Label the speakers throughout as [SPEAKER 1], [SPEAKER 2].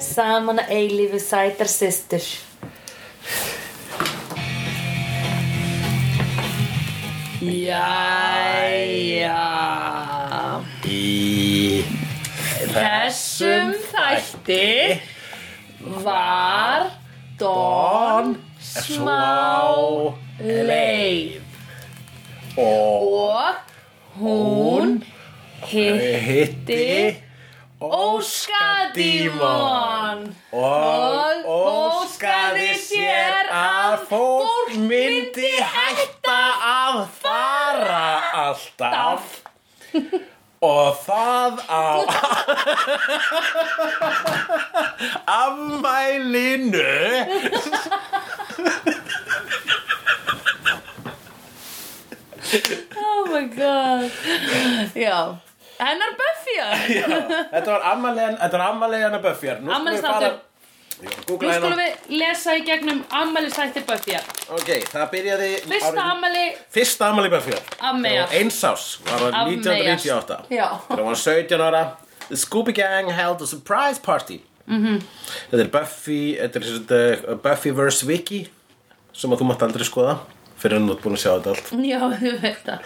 [SPEAKER 1] svona eilífu sætar systur.
[SPEAKER 2] Jæja
[SPEAKER 3] Í
[SPEAKER 2] Þessum þætti Var Don Smá Leif
[SPEAKER 3] og
[SPEAKER 2] Og hún Hitti
[SPEAKER 3] hitti
[SPEAKER 2] Óskadímon
[SPEAKER 3] og óskaði sér að fólk myndi hætta að fara alltaf og það á afmælinu
[SPEAKER 2] Oh my god Já Hennar Buffy
[SPEAKER 3] Já, þetta var afmæliðan þetta var afmæliðan að Buffy Nú skulum við fara Ég var
[SPEAKER 2] Afmælisþáttur.
[SPEAKER 3] að
[SPEAKER 2] Nú
[SPEAKER 3] googla
[SPEAKER 2] skulum
[SPEAKER 3] hérna
[SPEAKER 2] við lesa í gegnum ammælistætti Buffy
[SPEAKER 3] Ok, það byrjaði
[SPEAKER 2] Fyrsta
[SPEAKER 3] árið-
[SPEAKER 2] ammæli
[SPEAKER 3] Fyrsta afmæli Buffy
[SPEAKER 2] Afmeyjas.
[SPEAKER 3] Einsás var það
[SPEAKER 2] Afmeyjas.
[SPEAKER 3] 1998
[SPEAKER 2] Já.
[SPEAKER 3] Þegar hún var 17 ára The Scooby Gang held a surprise party mm -hmm. Þetta er Buffy Þetta er eh, þetta Buffyverse Wiki sem að þú mátt aldrei skoða fyrir hann út búin að sjá þetta allt
[SPEAKER 2] Já, þú veit það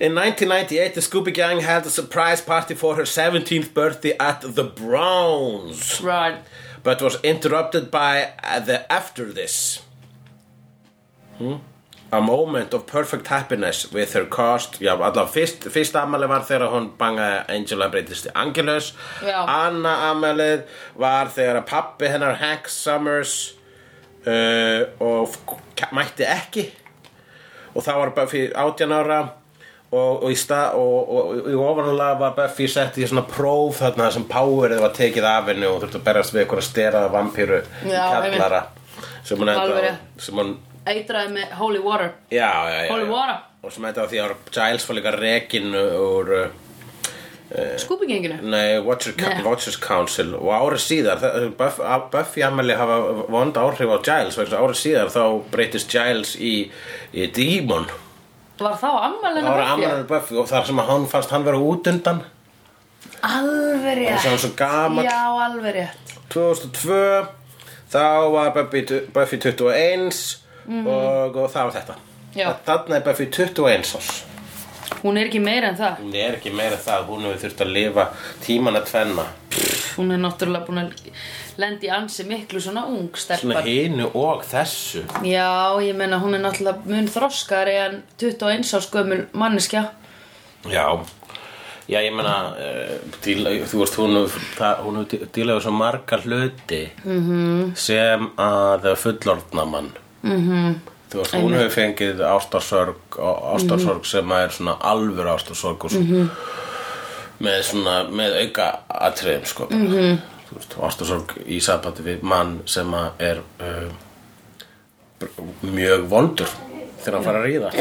[SPEAKER 3] In 1998, the Scooby Gang held a surprise party for her 17th birthday at the Browns
[SPEAKER 2] Right
[SPEAKER 3] but was interrupted by uh, the after this. Hmm? A moment of perfect happiness with her cost Já, allavega fyrst, fyrst ammæli var þegar hún bangaði að Angela breytist í Angelus
[SPEAKER 2] Já.
[SPEAKER 3] Anna ammælið var þegar að pappi hennar Hank Summers uh, og f- k- mætti ekki og það var Buffy 18 ára og, og í stað og, og, og, og ofanulega var Buffy sett í svona próf þarna sem powerið var tekið af henni og þurfti að berjast við einhverja steraða vampíru í
[SPEAKER 2] Já,
[SPEAKER 3] kjallara sem hún
[SPEAKER 2] Alveg
[SPEAKER 3] enda á-
[SPEAKER 2] rétt.
[SPEAKER 3] sem hún
[SPEAKER 2] Eitraði með holy water
[SPEAKER 3] já, já, já,
[SPEAKER 2] Holy water.
[SPEAKER 3] já. og sem enda á því að Giles var líka rekin úr uh,
[SPEAKER 2] Skúpingenginu
[SPEAKER 3] Nei, Watcher,
[SPEAKER 2] Nei.
[SPEAKER 3] Watchers Council og árið síðar, það- Buff- á- Buffy ammæli hafa vond áhrif á Giles vegna þess að árið síðar þá breytist Giles í, í Demon
[SPEAKER 2] Var þá ammælinu
[SPEAKER 3] Það var ammæli Buffy og þar sem að hann fannst hann vera út undan
[SPEAKER 2] Alveg rétt
[SPEAKER 3] þess að hann var svo gamall
[SPEAKER 2] Já, alveg rétt
[SPEAKER 3] 2002 þá var Buffy, Buffy 21 og, og það var þetta
[SPEAKER 2] Mhm. Já.
[SPEAKER 3] Þannig er Buffy 21 árs
[SPEAKER 2] Hún er ekki meira en það
[SPEAKER 3] Hún er ekki meira það, hún hefur þurft að lifa tímana tvenna
[SPEAKER 2] Hún er náttúrulega búin að lendi ansi miklu svona ung
[SPEAKER 3] Svona
[SPEAKER 2] stelpar
[SPEAKER 3] hinu og þessu
[SPEAKER 2] Já, ég meina hún er náttúrulega mun þroskari en 21 árs gömul manneskja
[SPEAKER 3] Já Já, ég meina, uh, díla, þú veist, hún hefur- það- hún hefur dí- dílaði svo marga hluti -hmm. sem að fullorðna mann. Mm -hmm. Þú veist, hún hefur fengið ástarsorg, á- ástarsorg sem að er svona alvöru ástarsorg og svona, með svona, með auka atriðum, sko. Mm -hmm. Þú veist, ástarsorg í sambandi við mann sem að er uh, br- mjög vondur þegar hann fara að ríða.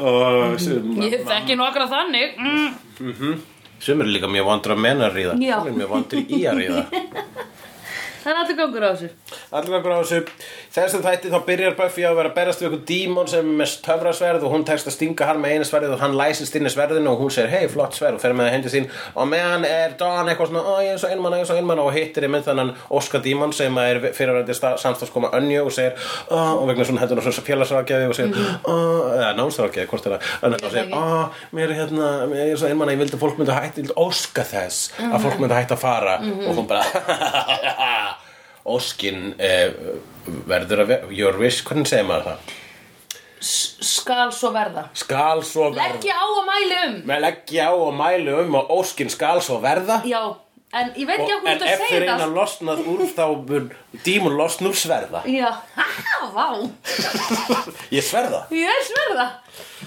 [SPEAKER 3] og sem,
[SPEAKER 2] Ég þekki nokkra þannig mm.
[SPEAKER 3] Sumir eru líka mjög vondur að menna að ríða
[SPEAKER 2] Já.
[SPEAKER 3] Sumir eru mjög vondur í að ríða
[SPEAKER 2] Það er allir gangur á þessu
[SPEAKER 3] Allir okkur á þessu Þessum þætti þá byrjar Buffy á að vera að berast við einhvern dímon sem er með töfrasverð og hún tekst að stinga hann með einu sverðið og hann læsist inn í sverðinu og hún segir hei flott sverð og fer með það hendi sín og meðan er Dawn eitthvað svona ó ég er svo einmann, ég er svo einmann og hittir í mynd þannan Óska dímon sem er fyrirverandi samstofskoma önju og segir ó og vegna svona hættur og svona félagsrákjaði og segir ó eða námsrákjaði hvort þeirra en hann segir ó mér er hérna mér er svo einmann að ég vildi að fólk myndi hætti ég vildi óska þess að fólk myndi hætti að fara og hún bara Óskin eh, verður að vera, your wish, hvernig segir maður það?
[SPEAKER 2] S Skal svo verða
[SPEAKER 3] Skal svo verða.
[SPEAKER 2] Leggja á að mæli um
[SPEAKER 3] Með leggja á og mælu um og óskin skal svo verða.
[SPEAKER 2] Já, en ég veit
[SPEAKER 3] Og,
[SPEAKER 2] ekki okkur
[SPEAKER 3] en ef
[SPEAKER 2] þetta að
[SPEAKER 3] þau
[SPEAKER 2] segja
[SPEAKER 3] reyna
[SPEAKER 2] þetta
[SPEAKER 3] að losnað úr þá mun dímun losn úr sverða.
[SPEAKER 2] Já, haha, vá
[SPEAKER 3] Ég sverða.
[SPEAKER 2] Ég er sverða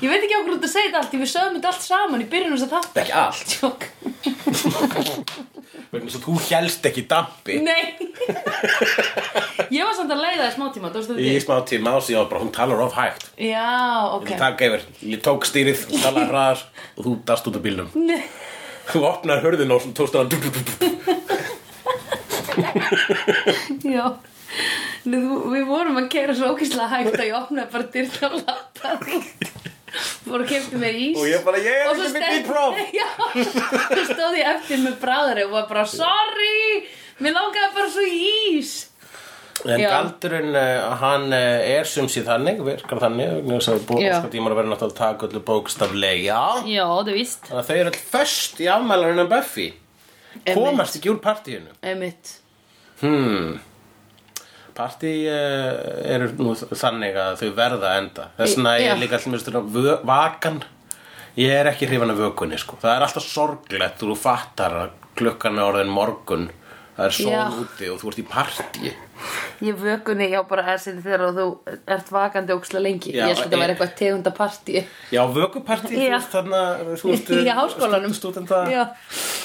[SPEAKER 2] Ég veit ekki okkur út að segja þetta allt Því við sögum þetta allt saman í byrjunum þess að þáttar
[SPEAKER 3] Ekki allt.
[SPEAKER 2] Tjók
[SPEAKER 3] Vegna þess að þú helst ekki dampi.
[SPEAKER 2] Nei Ég var samt að leiða það í smá tíma Þú veist
[SPEAKER 3] Í
[SPEAKER 2] þetta
[SPEAKER 3] smá tíma á sig og bara hún talar of hægt.
[SPEAKER 2] Já, ok
[SPEAKER 3] Okay. Takk yfir, ég tók stýrið, hún talar hraðar og þú dast út af bílnum.
[SPEAKER 2] Nei.
[SPEAKER 3] Þú opnar hörðin og tókst hann.
[SPEAKER 2] Já Nei, þú- Við vorum að kera svo ókýrslega hægt að ég opnaði bara dyrna og lappa fór og kefti mér ís
[SPEAKER 3] Og ég bara, ég er
[SPEAKER 2] Og svo
[SPEAKER 3] ekki með
[SPEAKER 2] stend-
[SPEAKER 3] big prof.
[SPEAKER 2] Já, svo stóð ég eftir með bræðari og var bara, sorry mér langaði bara svo í ís
[SPEAKER 3] En
[SPEAKER 2] Já.
[SPEAKER 3] galdurinn, uh, hann uh, er sum síð þannig, virkar þannig, vegna þess að búið
[SPEAKER 2] Já.
[SPEAKER 3] óskar tímar að vera náttúrulega að taka öllu bókstaflega.
[SPEAKER 2] Já, það víst
[SPEAKER 3] Þannig að þau eru alltaf föst í afmælarinn um Buffy. Komast ekki úr partíinu.
[SPEAKER 2] Einmitt
[SPEAKER 3] Hmm. Partí uh, eru nú þannig að þau verða að enda. Þess vegna
[SPEAKER 2] Já.
[SPEAKER 3] ég er líka alltaf mjög stundum vö- vakan. Ég er ekki hrifan af vökunni, sko. Það er alltaf sorglegt og þú fattar að klukkan er orðin morgun. Það er sól
[SPEAKER 2] Já.
[SPEAKER 3] úti og þú ert í partíi.
[SPEAKER 2] Ég vökunni, já bara er sinni þegar þú ert vakandi óksla lengi
[SPEAKER 3] Já,
[SPEAKER 2] Ég sko
[SPEAKER 3] ég-
[SPEAKER 2] það væri eitthvað tegunda partí
[SPEAKER 3] Já, vökupartí, þú
[SPEAKER 2] Já.
[SPEAKER 3] veist þarna þú veist,
[SPEAKER 2] Í háskólanum.
[SPEAKER 3] Stúdenta
[SPEAKER 2] Já.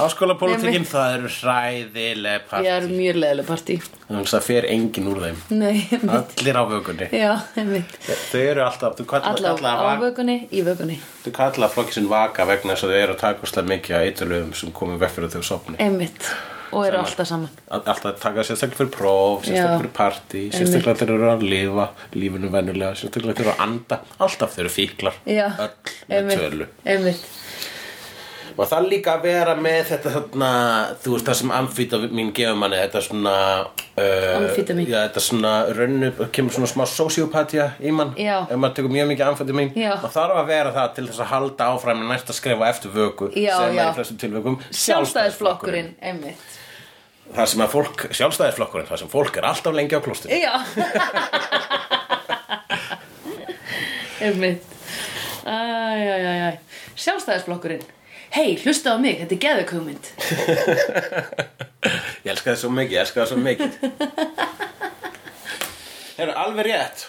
[SPEAKER 3] Háskólapolítikin,
[SPEAKER 2] Einmitt.
[SPEAKER 3] það eru hræðileg
[SPEAKER 2] Ég
[SPEAKER 3] partí
[SPEAKER 2] er mjög leðileg partí
[SPEAKER 3] Þannig að það fer engin úr þeim
[SPEAKER 2] Nei, einmitt
[SPEAKER 3] Allir á vökunni
[SPEAKER 2] Já, einmitt
[SPEAKER 3] Þau eru alltaf, þú kallar
[SPEAKER 2] Alla
[SPEAKER 3] alla,
[SPEAKER 2] á vökunni, í vökunni
[SPEAKER 3] þú kallar flokki sinn vaka vegna þess að þau eru að taka slega mikið að eiturlöfum sem komum vekk fyrir þau sopni
[SPEAKER 2] Einmitt Og eru
[SPEAKER 3] Saman.
[SPEAKER 2] alltaf saman
[SPEAKER 3] All- Alltaf að taka sérstaklega fyrir próf, sérstaklega
[SPEAKER 2] Já.
[SPEAKER 3] fyrir partí sérstaklega þeir eru að lifa lífinu venjulega, sérstaklega þeir eru að anda alltaf þeir eru fíklar,
[SPEAKER 2] Já,
[SPEAKER 3] öll með tölu
[SPEAKER 2] einmitt
[SPEAKER 3] og það líka að vera með þetta þarna, þú veist það sem amfítamín gefur manni, þetta svona uh,
[SPEAKER 2] Amfetamín.
[SPEAKER 3] já, þetta svona rönnu, kemur svona smá sociopatía í mann,
[SPEAKER 2] Já.
[SPEAKER 3] ef maður tekur mjög mikið amfítamín
[SPEAKER 2] Já.
[SPEAKER 3] og þarf að vera það til þess að halda áfram í næsta skref og eftir vöku
[SPEAKER 2] Já,
[SPEAKER 3] sem er
[SPEAKER 2] já.
[SPEAKER 3] í flestum tilvökum
[SPEAKER 2] Sjálfstæðisflokkurinn, einmitt
[SPEAKER 3] það sem að fólk, sjálfstæðisflokkurinn það sem fólk er alltaf lengi á klostinu
[SPEAKER 2] Já Einmitt Æj, æj, æj, æj Sjálfstæðisflokkurinn Hei, hlusta á mig, þetta er geðvekugmynd
[SPEAKER 3] Ég elska það svo mikið, ég elska það svo mikið Hérna, alveg rétt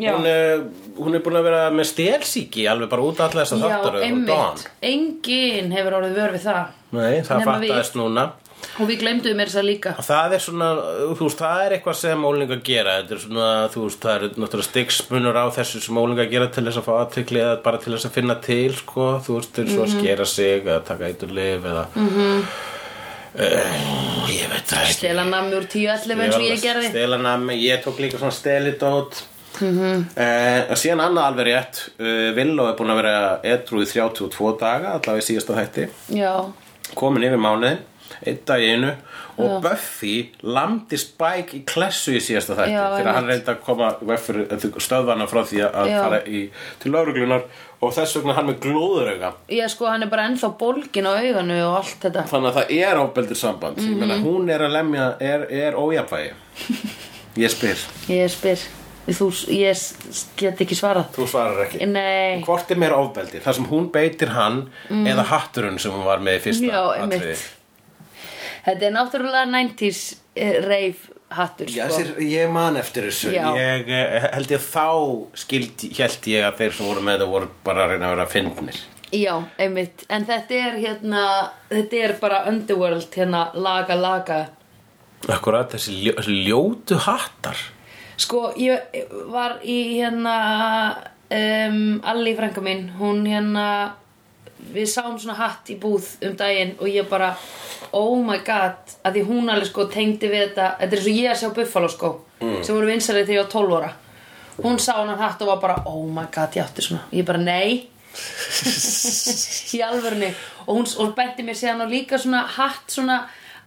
[SPEAKER 2] Já.
[SPEAKER 3] hún, eh, hún er búin að vera með stelsíki alveg bara út allar þess að
[SPEAKER 2] Já,
[SPEAKER 3] þáttar
[SPEAKER 2] einmitt Engin hefur orðið vör við það
[SPEAKER 3] Nei, það
[SPEAKER 2] Nema
[SPEAKER 3] fattaðist núna
[SPEAKER 2] Og við glemduðum mér þess að líka
[SPEAKER 3] Og Það er svona, þú veist, það er eitthvað sem ólingar gera Þetta er svona, þú veist, það eru náttúrulega stikkspunur á þessu sem ólingar gera til þess að fá aðtekli eða bara til þess að finna til, sko Þú veist, til
[SPEAKER 2] Mhm.
[SPEAKER 3] svo að skera sig eða taka eitur lif eða mm Ég veit það ekki
[SPEAKER 2] Stela nammi úr tíu allir eins og ég gerði
[SPEAKER 3] stela nammi, ég tók líka svona stelidót mm -hmm. uh, síðan annað alveg rétt uh, Villó er búin að vera edru í 32 daga, allavega í síðasta þætti
[SPEAKER 2] Já,
[SPEAKER 3] komin yfir mánuðin, einn dag í einu og Buffy landi Spike í klessu í síðasta þætti
[SPEAKER 2] Já,
[SPEAKER 3] þegar
[SPEAKER 2] einmitt.
[SPEAKER 3] hann reyndi að koma veffur, stöðvana frá því að
[SPEAKER 2] Já.
[SPEAKER 3] fara í, til lauruglunar og þess vegna hann með glóðurauga
[SPEAKER 2] ég sko, hann er bara ennþá bólgin á auganu og allt þetta
[SPEAKER 3] þannig að það er ábeldir samband mm meina,
[SPEAKER 2] Mhm.
[SPEAKER 3] hún er að lemja, er, er ójafvægi ég spyr,
[SPEAKER 2] Ég spyr, þú, ég s- s- get ekki svarað
[SPEAKER 3] þú svarar ekki
[SPEAKER 2] Nei, Mm.
[SPEAKER 3] Hvort er meira ofbeldi? Það sem hún beitir hann eða hatturinn sem hún var með í fyrsta
[SPEAKER 2] Já, einmitt.
[SPEAKER 3] atriði?
[SPEAKER 2] þetta er náttúrulega 90s reif hattur
[SPEAKER 3] Já,
[SPEAKER 2] sko.
[SPEAKER 3] þessir, ég man eftir þessu
[SPEAKER 2] Já.
[SPEAKER 3] Ég eh, held ég þá skildi, held ég að þeir sem voru með það voru bara að reyna að vera fyndnir
[SPEAKER 2] Já, einmitt En þetta er hérna, þetta er bara underworld hérna laga laga
[SPEAKER 3] Akkurat, þessi, ljó, þessi ljótu hattar
[SPEAKER 2] Sko, ég var í hérna um, Alli frænka mín Hún hérna Við sáum svona hatt í búð um daginn Og ég bara, oh my god Að því hún alveg sko tengdi við þetta Þetta er eins og ég að sjá Buffalo sko
[SPEAKER 3] Mm.
[SPEAKER 2] Sem voru vinsarið þegar ég var 12 ára Hún sá hennar hatt og var bara, oh my god, ég átti svona Ég bara, nei í alvörni og hún og benti mér síðan á líka svona hatt svona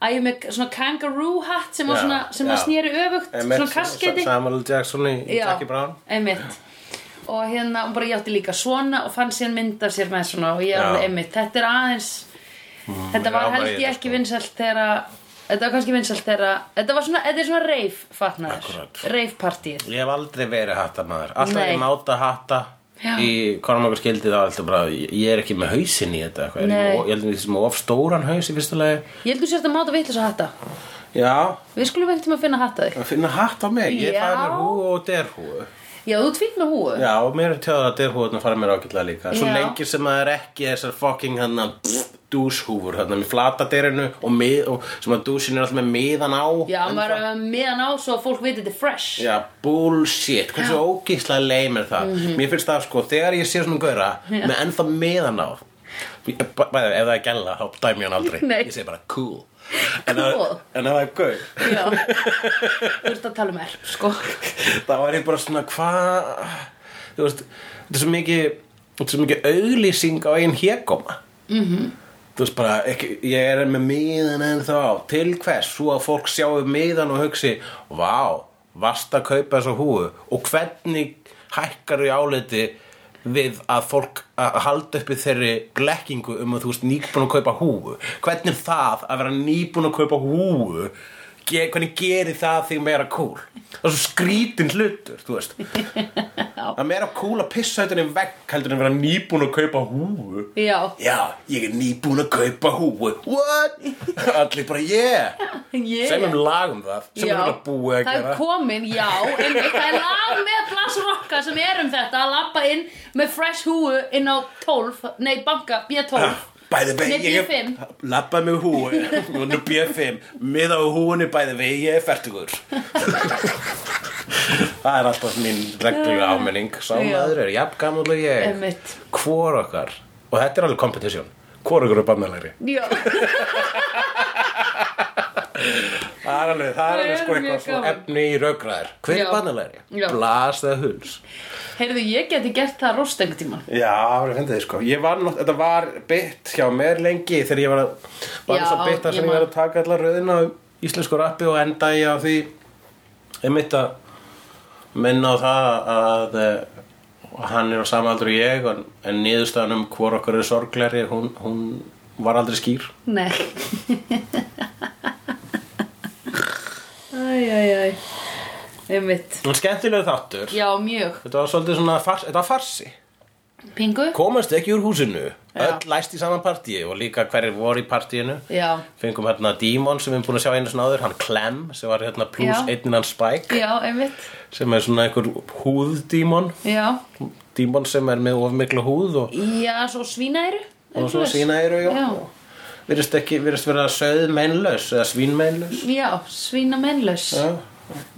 [SPEAKER 2] ægjum með svona kangaroo hatt sem, var
[SPEAKER 3] Já,
[SPEAKER 2] svona, sem að
[SPEAKER 3] já.
[SPEAKER 2] snýri öfugt svona kaskeiti
[SPEAKER 3] Samuel L. Jackson í í Jackie Brown
[SPEAKER 2] einmitt og hérna, hún bara ég átti líka svona og fann síðan mynd af sér með svona og ég
[SPEAKER 3] Já.
[SPEAKER 2] alveg einmitt, þetta er aðeins þetta
[SPEAKER 3] já,
[SPEAKER 2] var
[SPEAKER 3] bara
[SPEAKER 2] held
[SPEAKER 3] ég
[SPEAKER 2] ég
[SPEAKER 3] þetta,
[SPEAKER 2] ekki vinsælt þegar að þetta var kannski vinsælt þegar að þetta var svona, þetta er svona reif fatnaður,
[SPEAKER 3] Akkúrat.
[SPEAKER 2] reif partíð
[SPEAKER 3] Ég hef aldrei verið hattamæður Alltaf
[SPEAKER 2] Nei.
[SPEAKER 3] ég máta hatta
[SPEAKER 2] Já.
[SPEAKER 3] í Kormakur skildi þá alltaf bara ég ég er ekki með hausinn í þetta eitthvað. Er
[SPEAKER 2] Nei.
[SPEAKER 3] ég, með- ég heldur því sem of stóran haus í fyrsta lagi
[SPEAKER 2] ég held þú sérst að máta vitlis að hatta
[SPEAKER 3] Já,
[SPEAKER 2] við skulum einhvern tíma að finna hatta þig
[SPEAKER 3] að finna hatt á mig Ég
[SPEAKER 2] Já.
[SPEAKER 3] fæði mér húu og derhúu
[SPEAKER 2] já, þú ert fínt með húu
[SPEAKER 3] Já, og mér er tjáð að derhúðuna fara mér ágætlega líka Svo
[SPEAKER 2] Já.
[SPEAKER 3] lengi sem það er ekki þessar fucking hann dúshúfur hann með flata derinu og, mið, og sem að dúsin er alltaf með miðan á
[SPEAKER 2] Já,
[SPEAKER 3] En
[SPEAKER 2] maður
[SPEAKER 3] það-
[SPEAKER 2] er meðan á svo að fólk veit þetta er fresh
[SPEAKER 3] Já, bullshit, hversu ógíslega leim er það
[SPEAKER 2] Mhm.
[SPEAKER 3] Mér finnst það sko, þegar ég sé svona gauðra með ennþá miðan á b- bæði, ef það er gæla, þá dæmi ég hann aldrei
[SPEAKER 2] Nei.
[SPEAKER 3] Ég segi bara cool En, ef-
[SPEAKER 2] Cool.
[SPEAKER 3] en ef það er gauð
[SPEAKER 2] Já, þú ert að tala um erp, sko
[SPEAKER 3] þá var ég bara svona hvað þú veist, þetta er svo mikið þetta er svo mikið auglýsing á einn hégóma þú veist bara, ekki, ég er með miðan en þá, til hvers svo að fólk sjáu miðan og hugsi vá, vast að kaupa þessa húu og hvernig hækkar í áliti við að fólk að halda uppi þeirri blekkingu um að þú veist nýbúin að kaupa húu hvernig það að vera nýbúin að kaupa húu ge- hvernig gerir það þig meira cool það er svo skrítin hlutur, þú veist það er meira cool að pissa þetta í vegg heldur en að vera nýbúin að kaupa húu
[SPEAKER 2] Já,
[SPEAKER 3] Já, ég er nýbúin að kaupa húu What? Allir bara, yeah
[SPEAKER 2] Yeah.
[SPEAKER 3] Sem um lagum það Sem
[SPEAKER 2] já.
[SPEAKER 3] er bara búið að
[SPEAKER 2] það
[SPEAKER 3] gera
[SPEAKER 2] er komin, já einmitt, það er lag með blasrokka sem er um þetta að labba inn með fresh húu inn á 12 nei banka B12
[SPEAKER 3] Bæði vei,
[SPEAKER 2] Nei,
[SPEAKER 3] ég er
[SPEAKER 2] B5.
[SPEAKER 3] Lappa með húu Núna B5 Mið á húunni bæði vei, ég er fertugur Það er alltaf mín reglulega ámenning Sá
[SPEAKER 2] Já.
[SPEAKER 3] maður er jafn gamall og ég
[SPEAKER 2] Einmitt.
[SPEAKER 3] Hvor okkar Og þetta er alveg competition Hvor okkar er bannalegri
[SPEAKER 2] já,
[SPEAKER 3] Það er alveg, það er
[SPEAKER 2] Það
[SPEAKER 3] alveg
[SPEAKER 2] er
[SPEAKER 3] sko
[SPEAKER 2] mjög
[SPEAKER 3] eitthvað svona
[SPEAKER 2] gaman.
[SPEAKER 3] efni í raukraðir Hver
[SPEAKER 2] Já.
[SPEAKER 3] er bannalegri?
[SPEAKER 2] Já.
[SPEAKER 3] Blas eða huls?
[SPEAKER 2] heyrðu ég geti gert það rost einhvern tíman
[SPEAKER 3] Já, það var að finna þið sko Ég var, nátt- þetta var bytt hjá mér lengi þegar ég var að var
[SPEAKER 2] Já,
[SPEAKER 3] þess að bytta sem
[SPEAKER 2] ég
[SPEAKER 3] ég var
[SPEAKER 2] man.
[SPEAKER 3] að taka allar rauðina á íslensku rappi og enda ég á því einmitt að minna á það að eh, hann er á sama aldur og ég en, en niðurstaðan um hvor okkur er sorgleri hún, hún var aldrei skýr
[SPEAKER 2] nei æj, æj, æj einmitt,
[SPEAKER 3] En skemmtilega þáttur
[SPEAKER 2] já mjög
[SPEAKER 3] Þetta var svolítið svona fars, þetta var farsi
[SPEAKER 2] pingu,
[SPEAKER 3] Komast ekki úr húsinu
[SPEAKER 2] Já.
[SPEAKER 3] Öll læst í saman partíi og líka hverjir voru í partíinu
[SPEAKER 2] já
[SPEAKER 3] fengum hérna Dímon sem við erum búin að sjá einu svona áður hann Clem sem var hérna
[SPEAKER 2] Já.
[SPEAKER 3] pluss einninn hann Spike
[SPEAKER 2] já, einmitt,
[SPEAKER 3] sem er svona einhver húðdímon
[SPEAKER 2] já
[SPEAKER 3] Dímon sem er með of mikla húð og,
[SPEAKER 2] já, svo svínæru
[SPEAKER 3] og svo sína eru já.
[SPEAKER 2] Já.
[SPEAKER 3] virðist ekki, virðist vera söðmennlaus eða svínmennlaus
[SPEAKER 2] já, svína mennlaus
[SPEAKER 3] já,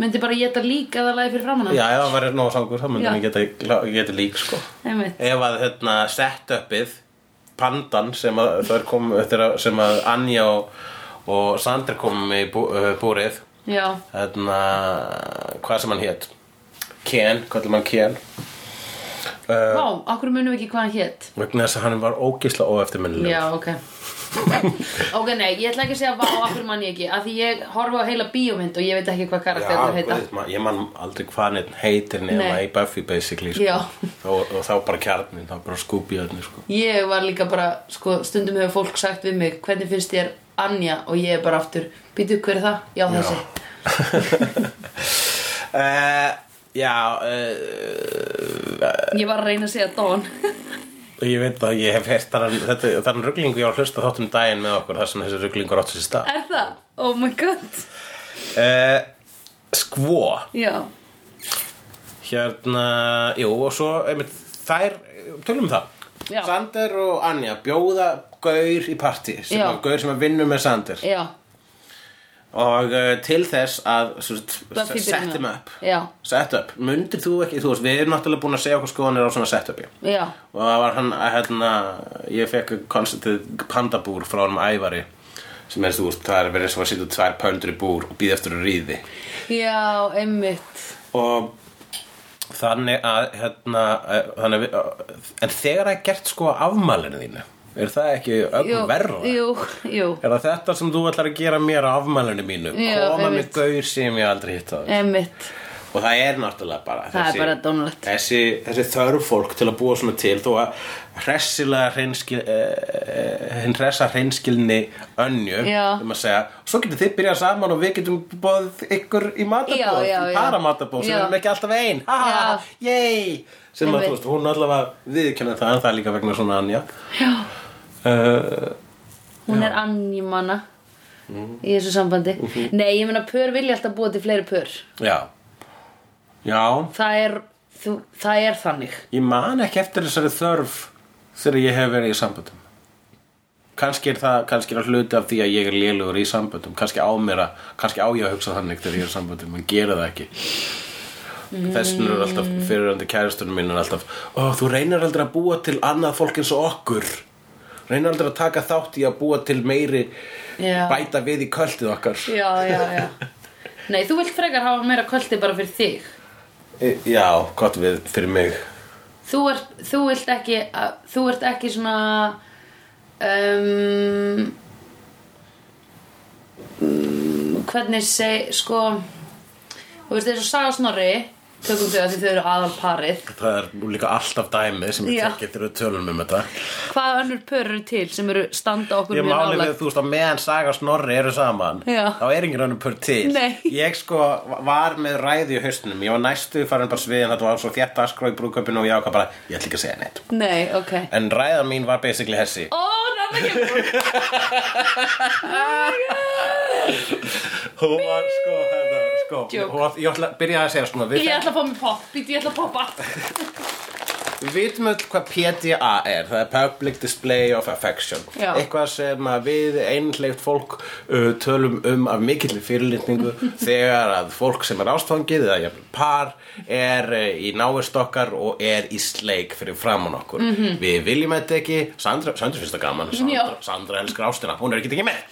[SPEAKER 2] myndi bara geta líka það lagi fyrir framann
[SPEAKER 3] já, ef hann var nóg sangur þá myndi
[SPEAKER 2] Já.
[SPEAKER 3] hann geta, geta lík sko
[SPEAKER 2] einmitt,
[SPEAKER 3] ef að hérna setupið pandan sem að þær kom eftir að- sem að Anja og, og Sandra komum í bú, uh, búrið
[SPEAKER 2] já
[SPEAKER 3] hérna, hvað sem hann hétt Ken, kallum hann Ken Eh.
[SPEAKER 2] Vá, okkur munum við ekki hvað hann hétt
[SPEAKER 3] vegna þess að hann var ógisla óeftirminnileg
[SPEAKER 2] Já, ok Ok, nei, ég ætla ekki að segja vá, okkur mann ég ekki Af því ég horfa á heila bíómynd og ég veit ekki hvað karakter það heita
[SPEAKER 3] guð, man, ég man aldrei hvað hann heitir nema
[SPEAKER 2] Nei.
[SPEAKER 3] í Buffy basically sko.
[SPEAKER 2] Já.
[SPEAKER 3] og, og þá bara kjarnin, þá bara skúbjöðni sko.
[SPEAKER 2] Ég var líka bara, sko, stundum hefur fólk sagt við mig Hvernig finnst þér Anja og ég er bara aftur Býtu, hver er það? Já, þessi
[SPEAKER 3] uh, Já uh,
[SPEAKER 2] Ég var að reyna að segja Dawn
[SPEAKER 3] Ég veit að ég hef heyrt þaðan þetta- þennan ruglingu ég var að hlusta á þáttum daginn með okkur þar sem þessi ruglingur áttu sér stað
[SPEAKER 2] Er það? Oh my god
[SPEAKER 3] uh, Skvo
[SPEAKER 2] Já,
[SPEAKER 3] Hérna, jú, og svo einmitt, þær, tölum við það
[SPEAKER 2] Já.
[SPEAKER 3] Sander og Anja bjóða gaur í partí sem
[SPEAKER 2] Já.
[SPEAKER 3] að gaur sem að vinnu með Sander
[SPEAKER 2] já,
[SPEAKER 3] og uh, til þess að
[SPEAKER 2] Buffy byrjunar.
[SPEAKER 3] setjum upp
[SPEAKER 2] já,
[SPEAKER 3] set up, mundir þú ekki, þú veist, við erum náttúrulega búin að segja okkur skoðanir á svona set upi
[SPEAKER 2] já
[SPEAKER 3] og það var hann, að, hérna, ég fekk konstantið pandabúr frá hann ævari sem er, þú veist, það er verið svo að sitja tvær pöldur í búr og býða eftir að ríði
[SPEAKER 2] Já, einmitt
[SPEAKER 3] og þannig að hérna, eh, þannig að við, eh, en þegar það er gert sko á afmælinu þínu er það ekki
[SPEAKER 2] Jú,
[SPEAKER 3] ögn verra?
[SPEAKER 2] Jú, jú,
[SPEAKER 3] Er það þetta sem þú ætlar að gera mér á afmælinu mínu?
[SPEAKER 2] Já,
[SPEAKER 3] Koma með
[SPEAKER 2] einmitt.
[SPEAKER 3] gaur sem ég aldrei hitt á
[SPEAKER 2] einmitt
[SPEAKER 3] Og það er náttúrulega bara
[SPEAKER 2] Það er bara dónalegt.
[SPEAKER 3] þessi, þessi þörf fólk til að búa svona til þó að hressilega hreinskil, eh, hinn hressa hreinskilni önju
[SPEAKER 2] Já.
[SPEAKER 3] um að segja svo getur þið byrjað saman og við getum bóðið ykkur í matabóð,
[SPEAKER 2] Já, já,
[SPEAKER 3] í
[SPEAKER 2] já.
[SPEAKER 3] paramatabóð sem
[SPEAKER 2] Já.
[SPEAKER 3] við erum ekki alltaf ein ha, ha, ha, yay sem að
[SPEAKER 2] Einmitt.
[SPEAKER 3] þú veist, hún allavega viðkennir það en það er líka vegna svona anja
[SPEAKER 2] Já
[SPEAKER 3] uh,
[SPEAKER 2] Hún er annjumanna í þessu sambandi. Nei, ég meina pör vilja alltaf búa til fleiri pör.
[SPEAKER 3] já já
[SPEAKER 2] Það er, þú, það er þannig.
[SPEAKER 3] Ég man ekki eftir þessari þörf þegar ég hef verið í samböndum. Kanski er það, kannski er það hluti af því að ég er lélugur í samböndum. Kannski á mér að, kannski á ég að hugsa þannig þegar ég er í samböndum, en gera það ekki.
[SPEAKER 2] Mm.
[SPEAKER 3] Þess vegna er alltaf, fyrirandi kæristunum minn er alltaf, ó, þú reynar aldrei að búa til annað fólk eins og okkur. Reynar aldrei að taka þátt í að búa til meiri,
[SPEAKER 2] Já.
[SPEAKER 3] bæta við í kvöldið okkar.
[SPEAKER 2] Já, já, já. Nei, þú vilt frekar hafa meira kvöldi bara fyrir þig.
[SPEAKER 3] E- Já, gott við fyrir mig.
[SPEAKER 2] þú ert, þú vilt ekki að, þú ert ekki svona um, mm, hvernig seg, sko þú veist eins og Saga og Snorri tökum þau að því þau eru aðal parið
[SPEAKER 3] Það er líka alltaf dæmið sem ég
[SPEAKER 2] Já.
[SPEAKER 3] tekið þegar við tölum um þetta
[SPEAKER 2] hvaða önnur pör eru til sem eru standa okkur
[SPEAKER 3] Ég
[SPEAKER 2] mjög
[SPEAKER 3] máli við,
[SPEAKER 2] nálægt?
[SPEAKER 3] þú veist, að meðan Saga og Snorri eru saman
[SPEAKER 2] Já.
[SPEAKER 3] Þá er enginn önnum pör til
[SPEAKER 2] Nei.
[SPEAKER 3] Ég sko var með ræði í haustunum Ég var næstu farin bara sviðin Þetta var svo þétt askrá í brúköpinu og ég ákvað bara Ég ætla ekki að segja neitt
[SPEAKER 2] nei, ok
[SPEAKER 3] En ræðan mín var basically hessi
[SPEAKER 2] ó, nanna kemur
[SPEAKER 3] Hún var sko, hérna, sko
[SPEAKER 2] Joke.
[SPEAKER 3] hún var, Ég ætla að byrja að segja svona Við,
[SPEAKER 2] ég ætla að fá mér pop, býti ég ætla að poppa
[SPEAKER 3] við vitum öll hvað PDA er Það er Public Display of Affection
[SPEAKER 2] Já.
[SPEAKER 3] Eitthvað sem að við einhleift fólk uh, tölum um af mikillir fyrirlitningu Þegar að fólk sem er ástfangið eða jafnvel par Er uh, í náist okkar og er í sleik fyrir framann okkur -hmm. Við viljum þetta ekki Sandra, Sandra finnst það gaman
[SPEAKER 2] Mhm. Já.
[SPEAKER 3] Sandra, Sandra elskar ástina, hún er ekki ekki með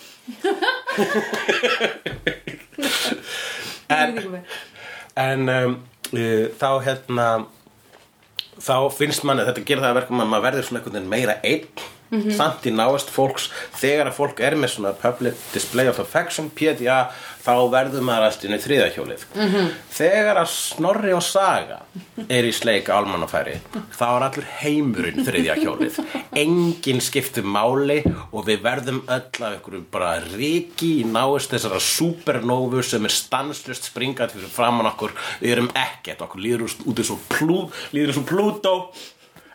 [SPEAKER 3] en um, uh, þá hérna þá finnst manni að þetta gerir það að verkum að maður verður svona einhvern veginn meira einn samt í náast fólks þegar að fólk er með svona public display of affection PDA þá verður maður allt inn í þriðahjólið -hmm. þegar að snorri og saga er í sleik álmannafæri þá er allur heimurinn þriðahjólið enginn skiptir máli og við verðum öll að ykkur bara ríki í náast þessara supernovu sem er stanslust springað fyrir framann okkur við erum ekkert, okkur líður út eins og plú, líður eins og Plútó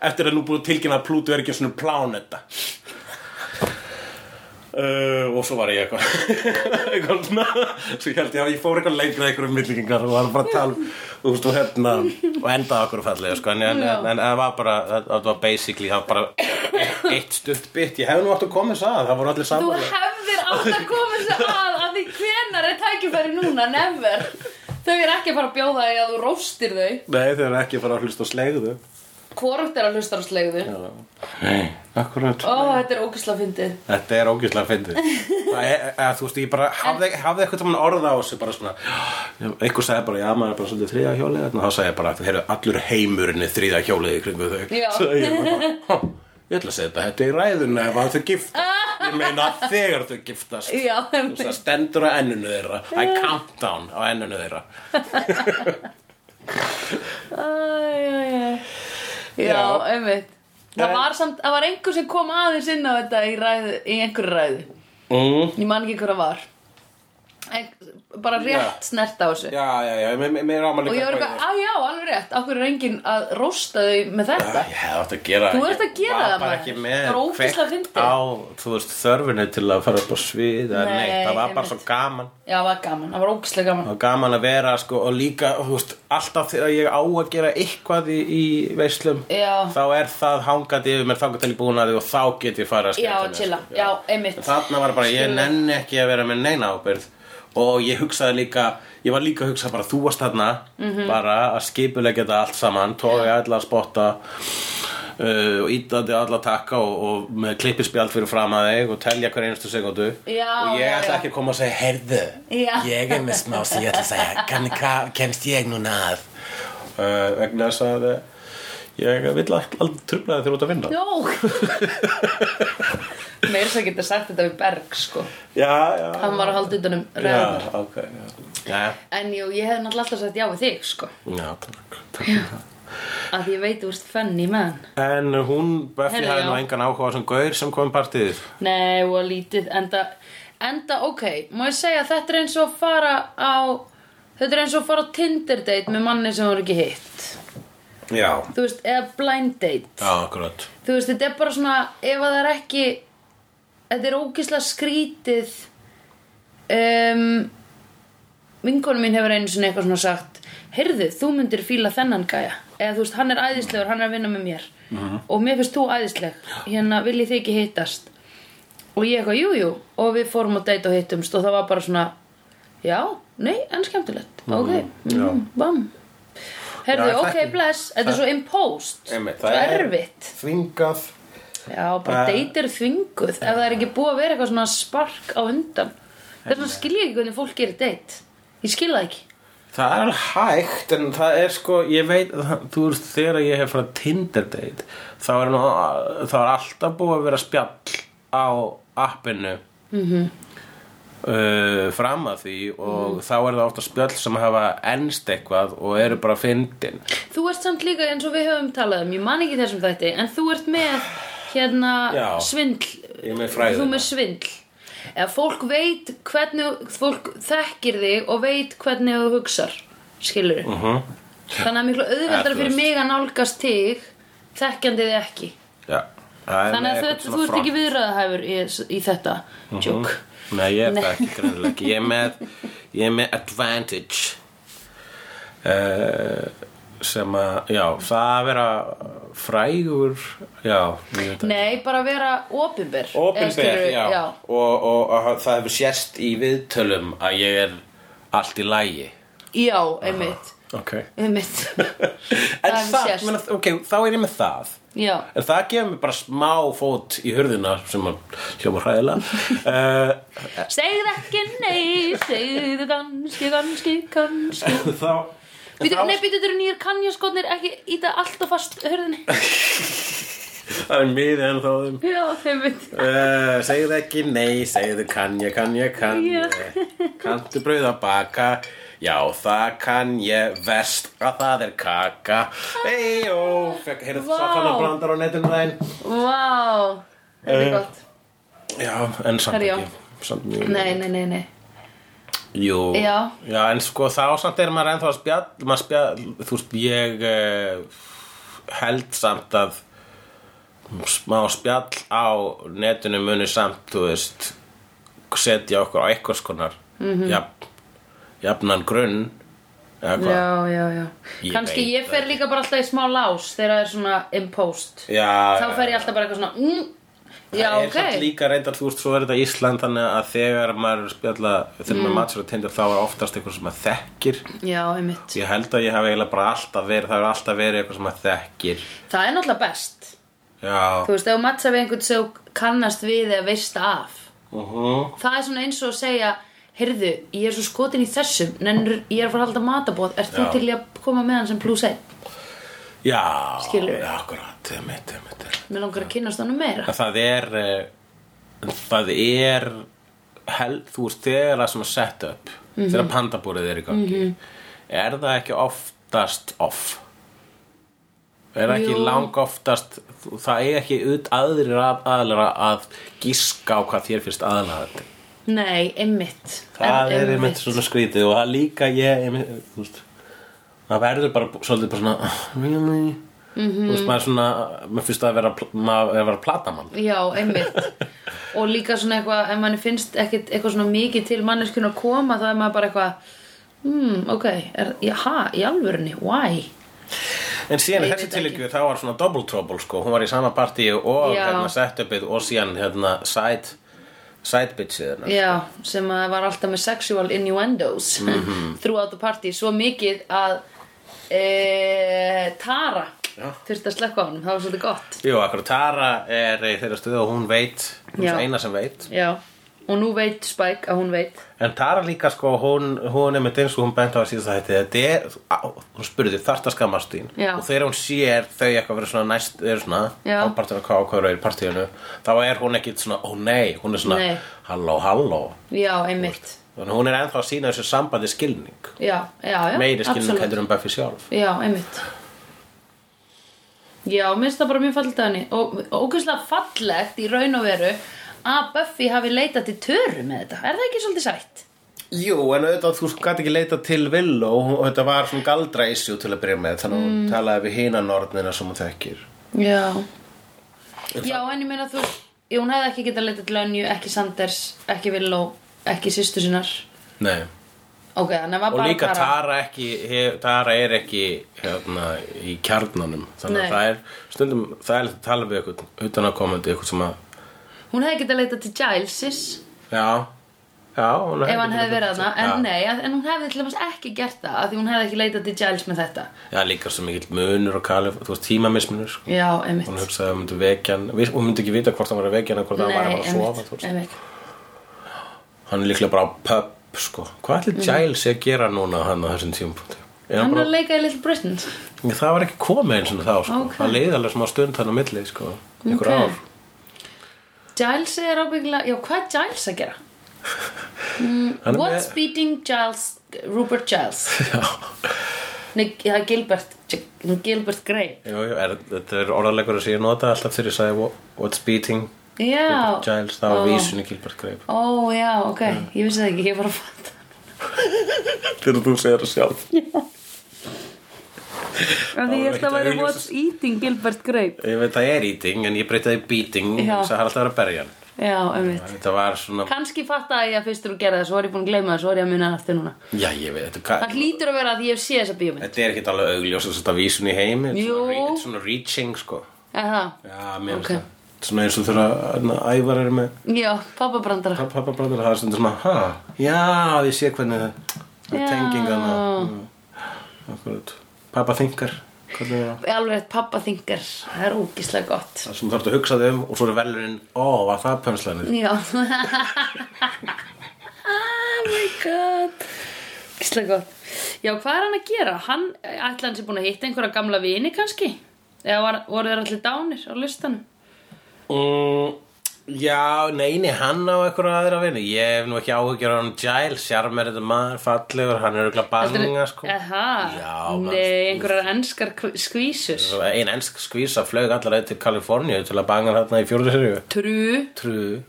[SPEAKER 3] eftir að nú búið að tilkynna að Plútó er ekki svona plánetta Uh, og svo var ég eitthvað eitthvað svona svo ég held ég að ég fór eitthvað lengra eitthvað um millingar og var bara að tala um þú veist og hérna og endaði okkur fallega sko en, en, en, en það var bara það það var basically það var bara eitt stutt bit ég hef nú átt að koma þess að það voru allir
[SPEAKER 2] Þú
[SPEAKER 3] saman
[SPEAKER 2] hefðir átt að koma þessu að að því hvenar er tækifæri núna, never Þau er ekki að fara að bjóða því að þú róstir þau
[SPEAKER 3] nei þau eru ekki að fara að hlusta og slegðu
[SPEAKER 2] Hvorugt er að hlusta á slegðu
[SPEAKER 3] nei, akkurat
[SPEAKER 2] Ó, þetta er ógisla fyndið
[SPEAKER 3] Þetta er ógjuslega fyndið Það er, að, Þú veist, ég bara hafði, hafði eitthvað tímann orð á þessu bara svona einhver sagði bara, já, maður er bara svolítið þriða hjólið þarna, þá sagði ég bara, þeir eru allur heimurinn er þriða hjólið í kringu þau
[SPEAKER 2] Já.
[SPEAKER 3] Svo ég bara, "Há, ég ætla að segja þetta þetta í ræðuna ef að þau giftast Ég meina þegar þau giftast
[SPEAKER 2] Já,
[SPEAKER 3] Þú veist, Það stendur á ennunu þeirra I countdown á ennunu þeirra
[SPEAKER 2] einmitt Já,
[SPEAKER 3] Já. Eh.
[SPEAKER 2] einmitt Það
[SPEAKER 3] En-
[SPEAKER 2] var samt, það var einhver sem kom aðeins inn á þetta í, ræðu, í einhverju ræðu
[SPEAKER 3] mm.
[SPEAKER 2] Ég man ekki hver að var Ein, Bara rétt snert á þessu
[SPEAKER 3] Já, já, já, mér, mér- mér ámæli
[SPEAKER 2] Og ég var eitthvað, að já, alveg rétt Akkur er enginn að rósta þau með þetta
[SPEAKER 3] Ég hefði átt að gera
[SPEAKER 2] Þú ert að
[SPEAKER 3] það
[SPEAKER 2] gera það,
[SPEAKER 3] Ég var bara
[SPEAKER 2] maður.
[SPEAKER 3] ekki
[SPEAKER 2] Það var
[SPEAKER 3] með
[SPEAKER 2] ógeðslega
[SPEAKER 3] kveikt
[SPEAKER 2] fyndið.
[SPEAKER 3] á þú veist, þörfinu til að fara upp á svið eða
[SPEAKER 2] Nei,
[SPEAKER 3] neitt, það var bara
[SPEAKER 2] einmitt.
[SPEAKER 3] svo gaman
[SPEAKER 2] Já, það var gaman, það var ógislega gaman
[SPEAKER 3] og gaman að vera sko, og líka, þú veist, alltaf þegar ég á að gera eitthvað í, í veislum
[SPEAKER 2] Já.
[SPEAKER 3] þá er það hangandi yfir mér þangar til í búnaði og þá get ég fara að
[SPEAKER 2] Já,
[SPEAKER 3] skemmta mér,
[SPEAKER 2] chilla,
[SPEAKER 3] sko.
[SPEAKER 2] já, einmitt
[SPEAKER 3] En þarna var bara, ég
[SPEAKER 2] Skilja.
[SPEAKER 3] nenni ekki að vera með neina ábyrð og ég hugsaði líka, ég var líka að hugsa bara þú varst þarna,
[SPEAKER 2] Mhm.
[SPEAKER 3] bara að skipulegja þetta allt saman, tóði yeah. allar að spotta uh, og ítandi allar takka og, og með klippispjald fyrir fram að þig og telja hver einustu sekundu
[SPEAKER 2] Já,
[SPEAKER 3] og ég
[SPEAKER 2] já,
[SPEAKER 3] ætla
[SPEAKER 2] já.
[SPEAKER 3] ekki að koma að segja, heyrðu,
[SPEAKER 2] Já.
[SPEAKER 3] ég er með smá sem ég ætla að segja, kann, hvað kemst ég núna að uh, vegna þess að uh, ég vill alltaf trubla þig þegar þú ert að vinna
[SPEAKER 2] Jó Meir þess að geta sagt þetta við Berg sko
[SPEAKER 3] Já, já,
[SPEAKER 2] Hann var að halda utanum ræðunar
[SPEAKER 3] Já, ok, já. Já,
[SPEAKER 2] En jú, ég hef náttúrulega alltaf sagt já við þig sko
[SPEAKER 3] já, takk, takk fyrir það.
[SPEAKER 2] Af því ég veit þú ert fenni menn
[SPEAKER 3] En hún, Buffy,
[SPEAKER 2] Heyrðu,
[SPEAKER 3] hafði nú
[SPEAKER 2] já.
[SPEAKER 3] engan áhuga á sem gaur sem kom í partíð.
[SPEAKER 2] Nei, og lítið Enda, enda ok, má ég segja Þetta er eins og að fara á Þetta er eins og að fara á Tinder date Með manni sem voru ekki hitt
[SPEAKER 3] Já.
[SPEAKER 2] Þú veist, eða blind date
[SPEAKER 3] Já, akkurat.
[SPEAKER 2] Þú veist, þetta er bara svona Ef að það er ekki Þetta er ógislega skrítið um, Vinkonu mín hefur einu sinni eitthvað svona sagt Heyrðu, þú myndir fíla þennan gæja Eða þú veist, hann er æðislegur, hann er að vinna með mér Og mér finnst þú æðisleg Hérna, viljið þið ekki hittast Og ég eitthvað, jú, jú Og við fórum á date og hittumst Og það var bara svona Já, nei, en skemmtilegt Ok,
[SPEAKER 3] já.
[SPEAKER 2] mm, bam Heyrðu,
[SPEAKER 3] Já,
[SPEAKER 2] ok,
[SPEAKER 3] þetta-
[SPEAKER 2] bless Þetta er svo imposed Svo erfitt
[SPEAKER 3] Þvingað.
[SPEAKER 2] Já, bara
[SPEAKER 3] Það-
[SPEAKER 2] deitir þvinguð ef það er ekki búið að vera eitthvað svona spark á undan Þess vegna skil ég ekki hvernig fólk gerir deit Ég skil það ekki
[SPEAKER 3] Það er alveg hægt en það er sko, ég veit það, þú veist, þegar ég hef frá Tinder date þá er, nú, þá er alltaf búið að vera spjall á appinu mm
[SPEAKER 2] Mhm.
[SPEAKER 3] fram að því og þá er það ofta spjall sem hafa ennst eitthvað og eru bara fyndin
[SPEAKER 2] Þú ert samt líka eins og við höfum talað um, ég man ekki þessum þætti, en þú ert með hérna
[SPEAKER 3] Já.
[SPEAKER 2] svindl,
[SPEAKER 3] Ég er með fræðina.
[SPEAKER 2] þú með svindl. Eða fólk veit hvernig, fólk þekkir þig og veit hvernig þú hugsar, skilur við. Þannig að miklu
[SPEAKER 3] Eða,
[SPEAKER 2] auðveldar
[SPEAKER 3] Mhm. þú
[SPEAKER 2] fyrir
[SPEAKER 3] veist.
[SPEAKER 2] mig að nálgast þig, þekkjandi þig ekki.
[SPEAKER 3] Já, það er
[SPEAKER 2] Þannig
[SPEAKER 3] með
[SPEAKER 2] að
[SPEAKER 3] eitthvað
[SPEAKER 2] þetta,
[SPEAKER 3] svona
[SPEAKER 2] þú ert ekki
[SPEAKER 3] front. Mhm.
[SPEAKER 2] viðræðahæfur í, í þetta, tjók.
[SPEAKER 3] Nei, ég er
[SPEAKER 2] Nei.
[SPEAKER 3] það ekki greinlega ekki. Ég er með, ég er með advantage uh, sem að, já, það að vera frægur, já, ég veit það.
[SPEAKER 2] Nei, bara vera opinber. Eða
[SPEAKER 3] Opinber,
[SPEAKER 2] skilurðu,
[SPEAKER 3] já,
[SPEAKER 2] já.
[SPEAKER 3] Og, og, og það hefur sérst í viðtölum að ég er allt í lægi.
[SPEAKER 2] Já, einmitt,
[SPEAKER 3] Ok.
[SPEAKER 2] einmitt.
[SPEAKER 3] en
[SPEAKER 2] hefur
[SPEAKER 3] það,
[SPEAKER 2] sést.
[SPEAKER 3] menna, ok, þá er ég með það.
[SPEAKER 2] já.
[SPEAKER 3] En það gefur mér bara smá fót í hurðina sem að hljóma hræðilega. Uh,
[SPEAKER 2] Segð ekki nei, segðu kannski, kannski, kannski
[SPEAKER 3] þá...
[SPEAKER 2] Býtu,
[SPEAKER 3] þá-
[SPEAKER 2] Nei, býtu, þetta eru nýjur kannjaskotnir, ekki íta alltaf fast hörðinni
[SPEAKER 3] Það er miðið en þá þeim.
[SPEAKER 2] Já, þeim veit
[SPEAKER 3] Uh, segðu ekki nei, segðu kann ég, kann ég, kann ég Kanntu brauð að baka Já, það kann ég Vest að það er kaka Eyjó, fekk heyrðu
[SPEAKER 2] Vá.
[SPEAKER 3] wow. safana blandar á netinu þæn
[SPEAKER 2] Vá, þetta er
[SPEAKER 3] Eh,
[SPEAKER 2] gott
[SPEAKER 3] Já, en samt
[SPEAKER 2] Herri, já.
[SPEAKER 3] ekki samt mjög
[SPEAKER 2] Nei, nei, nei, nei
[SPEAKER 3] Jú,
[SPEAKER 2] Já.
[SPEAKER 3] en sko þá samt er maður ennþá að spjall, maður spjall Þú veist, ég uh, held samt að smá spjall á netinu muni samt, þú veist setja okkur á einhvers konar
[SPEAKER 2] Mhm.
[SPEAKER 3] mm jafnan grunn eða hvað
[SPEAKER 2] Já, já, já
[SPEAKER 3] Ég
[SPEAKER 2] Kannski
[SPEAKER 3] veit
[SPEAKER 2] ég fer líka bara alltaf í smá lás þegar það er svona impost
[SPEAKER 3] Já,
[SPEAKER 2] Þá fer ég alltaf bara eitthvað svona mm, Já,
[SPEAKER 3] það er
[SPEAKER 2] ok
[SPEAKER 3] samt líka reyndar, þú veist, svo er þetta Ísland þannig að þegar maður er að spjalla þegar
[SPEAKER 2] Mhm.
[SPEAKER 3] maður matsur að tindur þá er oftast eitthvað sem maður þekkir
[SPEAKER 2] Já, einmitt
[SPEAKER 3] ég held að ég hef eiginlega bara alltaf verið það er alltaf verið eitthvað sem maður þekkir
[SPEAKER 2] Það er náttúrulega best
[SPEAKER 3] Já,
[SPEAKER 2] Þú veist, ef þú matsa við einhvern sem þú kannast við eða veist af
[SPEAKER 3] uh
[SPEAKER 2] það er svona eins og að segja heyrðu, ég er svo skotin í þessum nennur, ég er að fara að halda matabóð er þú
[SPEAKER 3] Já.
[SPEAKER 2] til í að koma með hann sem plus 1
[SPEAKER 3] já
[SPEAKER 2] Skilurðu?
[SPEAKER 3] já, akkurat, emitt, emitt, emitt.
[SPEAKER 2] mér langar að kynast hann meira
[SPEAKER 3] En það er eh, það er held, þú veist, þegar það sem að setja upp
[SPEAKER 2] Mhm.
[SPEAKER 3] þegar pandabúrið er í gangi er það ekki oftast off er það ekki
[SPEAKER 2] Jú.
[SPEAKER 3] lang oftast það er ekki ut aðrir að, aðlera að gíska á hvað þér finnst aðlæðandi
[SPEAKER 2] nei, einmitt
[SPEAKER 3] það
[SPEAKER 2] En-
[SPEAKER 3] er einmitt svona skrítið og það líka ég einmitt, þú veist, það verður bara bú- svolítið bara svona "Ah, really?
[SPEAKER 2] Mhm.
[SPEAKER 3] þú veist, maður er svona maður finnst það að vera, pl- maður er að vera platamann
[SPEAKER 2] já, einmitt og líka svona eitthvað, ef manni finnst ekkit, eitthvað svona mikið til manneskun að koma þá er maður bara eitthvað hmm, ok, er, jaha, í alvörunni, why
[SPEAKER 3] En síðan í
[SPEAKER 2] Ég
[SPEAKER 3] þessu
[SPEAKER 2] veit
[SPEAKER 3] tilíku þá var svona double trouble sko, hún var í sama partíu og
[SPEAKER 2] Já.
[SPEAKER 3] hérna setupið og síðan hérna side, side bitchið hérna.
[SPEAKER 2] Já, sem að var alltaf með sexual innuendos
[SPEAKER 3] Mhm.
[SPEAKER 2] throughout the party svo mikið að e, Tara
[SPEAKER 3] Já.
[SPEAKER 2] þurfti að slekka á honum, það var svolítið gott
[SPEAKER 3] Jú, akkur Tara er í þeirra stuðu og hún veit, hún
[SPEAKER 2] Já.
[SPEAKER 3] er eina sem veit.
[SPEAKER 2] Já, og nú veit Spike að hún veit
[SPEAKER 3] En Tara líka sko, hún, hún er með eins og hún bent á að síðast þetta, þetta er, á, hún spurði þarft að skammast þín.
[SPEAKER 2] Já.
[SPEAKER 3] Og þegar hún sér þau eitthvað verið svona næst, eru svona,
[SPEAKER 2] Já.
[SPEAKER 3] ápartinu hvað ákvæður er í partíinu, þá er hún ekkit svona, ó nei, hún er svona,
[SPEAKER 2] Nei.
[SPEAKER 3] halló, halló.
[SPEAKER 2] Já, einmitt
[SPEAKER 3] Þannig að hún er ennþá að sína þessu sambandi skilning.
[SPEAKER 2] Já, já, já,
[SPEAKER 3] Meiri skilning
[SPEAKER 2] absolutt.
[SPEAKER 3] hættur um Buffy sjálf.
[SPEAKER 2] Já, einmitt Já, mér finnst það bara mjög fallit að henni og og ógeðslega fallegt í raun og veru að Buffy hafi leitað til töru með þetta Er það ekki svolítið sætt?
[SPEAKER 3] Jú, en auðvitað þú gæti ekki leita til Vill og hún- þetta var svona galdra issue til að byrja með þannig að
[SPEAKER 2] Mm.
[SPEAKER 3] hún talaði við hina nornina sem hún þekkir
[SPEAKER 2] Já Já, en ég meina þú Jú, hún hefði ekki getað leitað til Önju, ekki Sanders ekki Villó, ekki systur sinnar
[SPEAKER 3] Nei.
[SPEAKER 2] Ok, þannig að var
[SPEAKER 3] og
[SPEAKER 2] bara
[SPEAKER 3] líka
[SPEAKER 2] bara
[SPEAKER 3] Tara, ekki, hef, Tara er ekki hérna, í kjarnanum þannig
[SPEAKER 2] Nei.
[SPEAKER 3] að það er stundum það er að tala við ykkur utan að komandi ykkur sem að
[SPEAKER 2] Hún hefði getað leitað til Gilesis
[SPEAKER 3] já, já hún
[SPEAKER 2] ef hann
[SPEAKER 3] ekki-
[SPEAKER 2] hefði verið þarna, en
[SPEAKER 3] Já.
[SPEAKER 2] nei en en hún hefði til dæmis ekki gert það, af því hún hefði ekki leitað til Giles með þetta
[SPEAKER 3] Já, líka svo mikill munur og kalif þú veist tímamismunur sko.
[SPEAKER 2] Já,
[SPEAKER 3] hún
[SPEAKER 2] einmitt
[SPEAKER 3] hugsaði að hún myndi vekja hann við- hún myndi ekki vita hvort hann var að vekja hann eða hvort hann var að fara að sofa þú
[SPEAKER 2] einmitt,
[SPEAKER 3] veist.
[SPEAKER 2] einmitt Mm.
[SPEAKER 3] hann er líklega bara á pub sko. Hvað ætli Giles sé að gera núna hann á þessum tímapunkti? Er hann
[SPEAKER 2] Hann er
[SPEAKER 3] bara,
[SPEAKER 2] að leika í Little Britain
[SPEAKER 3] það var ekki komið eins og þá, sko.
[SPEAKER 2] Ok.
[SPEAKER 3] Það leiði alveg smá stund hann á milli, sko. Einhver
[SPEAKER 2] Ok.
[SPEAKER 3] ár.
[SPEAKER 2] Giles er ábyggilega, já hvað er Giles að gera? Mm,
[SPEAKER 3] Hann er
[SPEAKER 2] What's beating Giles, Rupert Giles?
[SPEAKER 3] Já,
[SPEAKER 2] Nei, það er Gilbert, Gilbert Grey
[SPEAKER 3] jú, jú, er, þetta er orðalegur að sé ég nota alltaf þegar ég sagði "What- What's beating
[SPEAKER 2] Já
[SPEAKER 3] Giles, það var
[SPEAKER 2] Ó.
[SPEAKER 3] vísunni Gilbert Greip.
[SPEAKER 2] Ó, já, ok, ég vissi það ekki, ég var að fatta
[SPEAKER 3] Þegar þú segir það sjálf.
[SPEAKER 2] Því
[SPEAKER 3] var
[SPEAKER 2] ég held
[SPEAKER 3] ekkert
[SPEAKER 2] að væri
[SPEAKER 3] augljósast.
[SPEAKER 2] What's Eating Gilbert Grape
[SPEAKER 3] Ég veit það er eating, en ég breytaði í beating,
[SPEAKER 2] Já.
[SPEAKER 3] þess að það er alltaf að vera að berja hann.
[SPEAKER 2] Já, einmitt
[SPEAKER 3] Þetta var svona,
[SPEAKER 2] Kanski fattaði ég að fyrst þegar þú gerði það, svo var ég búin að gleyma það, svo var ég að muna það aftur núna
[SPEAKER 3] já, ég veit, þetta er
[SPEAKER 2] Það hlýtur að vera að ég hef séð þessa bíómynd
[SPEAKER 3] Þetta er ekkert alveg augljós þess að þetta vísun í heimi Þetta er svona
[SPEAKER 2] Jú.
[SPEAKER 3] re- þetta er svona reaching sko
[SPEAKER 2] Er það?
[SPEAKER 3] Já, mér finnst
[SPEAKER 2] Ok.
[SPEAKER 3] það Þetta er Svona eins og þegar hérna, ævar er með
[SPEAKER 2] Já, pappabrandara
[SPEAKER 3] pappabrandur Það er stundum svona, ha, já, ég sé hvernig það- það
[SPEAKER 2] Já.
[SPEAKER 3] er tengingana Mm. Akkurat Pappa þingar, hvernig það
[SPEAKER 2] Alveg eitt pappaþingar, það er ógislega gott
[SPEAKER 3] Það sem þarftu að hugsa þig um og svo er velurinn, ó, var það pönslanir
[SPEAKER 2] Já Oh my god Ógislega gott Já, hvað er hann að gera? Hann, ætla hann sér búin að hitta einhverja gamla vini kannski Eða var, voru þeir allir dánir á listanum?
[SPEAKER 3] mm, Já, neini, hann á einhverja aðra vini Ég hef nú ekki áhugjur á hann Giles, sjarmer þetta maður, fallegur, hann er auðvitað banninga sko
[SPEAKER 2] Aha,
[SPEAKER 3] Já, manstu.
[SPEAKER 2] nei, einhverjar enskar kv- skvísur
[SPEAKER 3] Ein ennsk skvísa flög allar leið til Kaliforníu til að banga þarna í fjórðu serju.
[SPEAKER 2] Trú
[SPEAKER 3] Trú.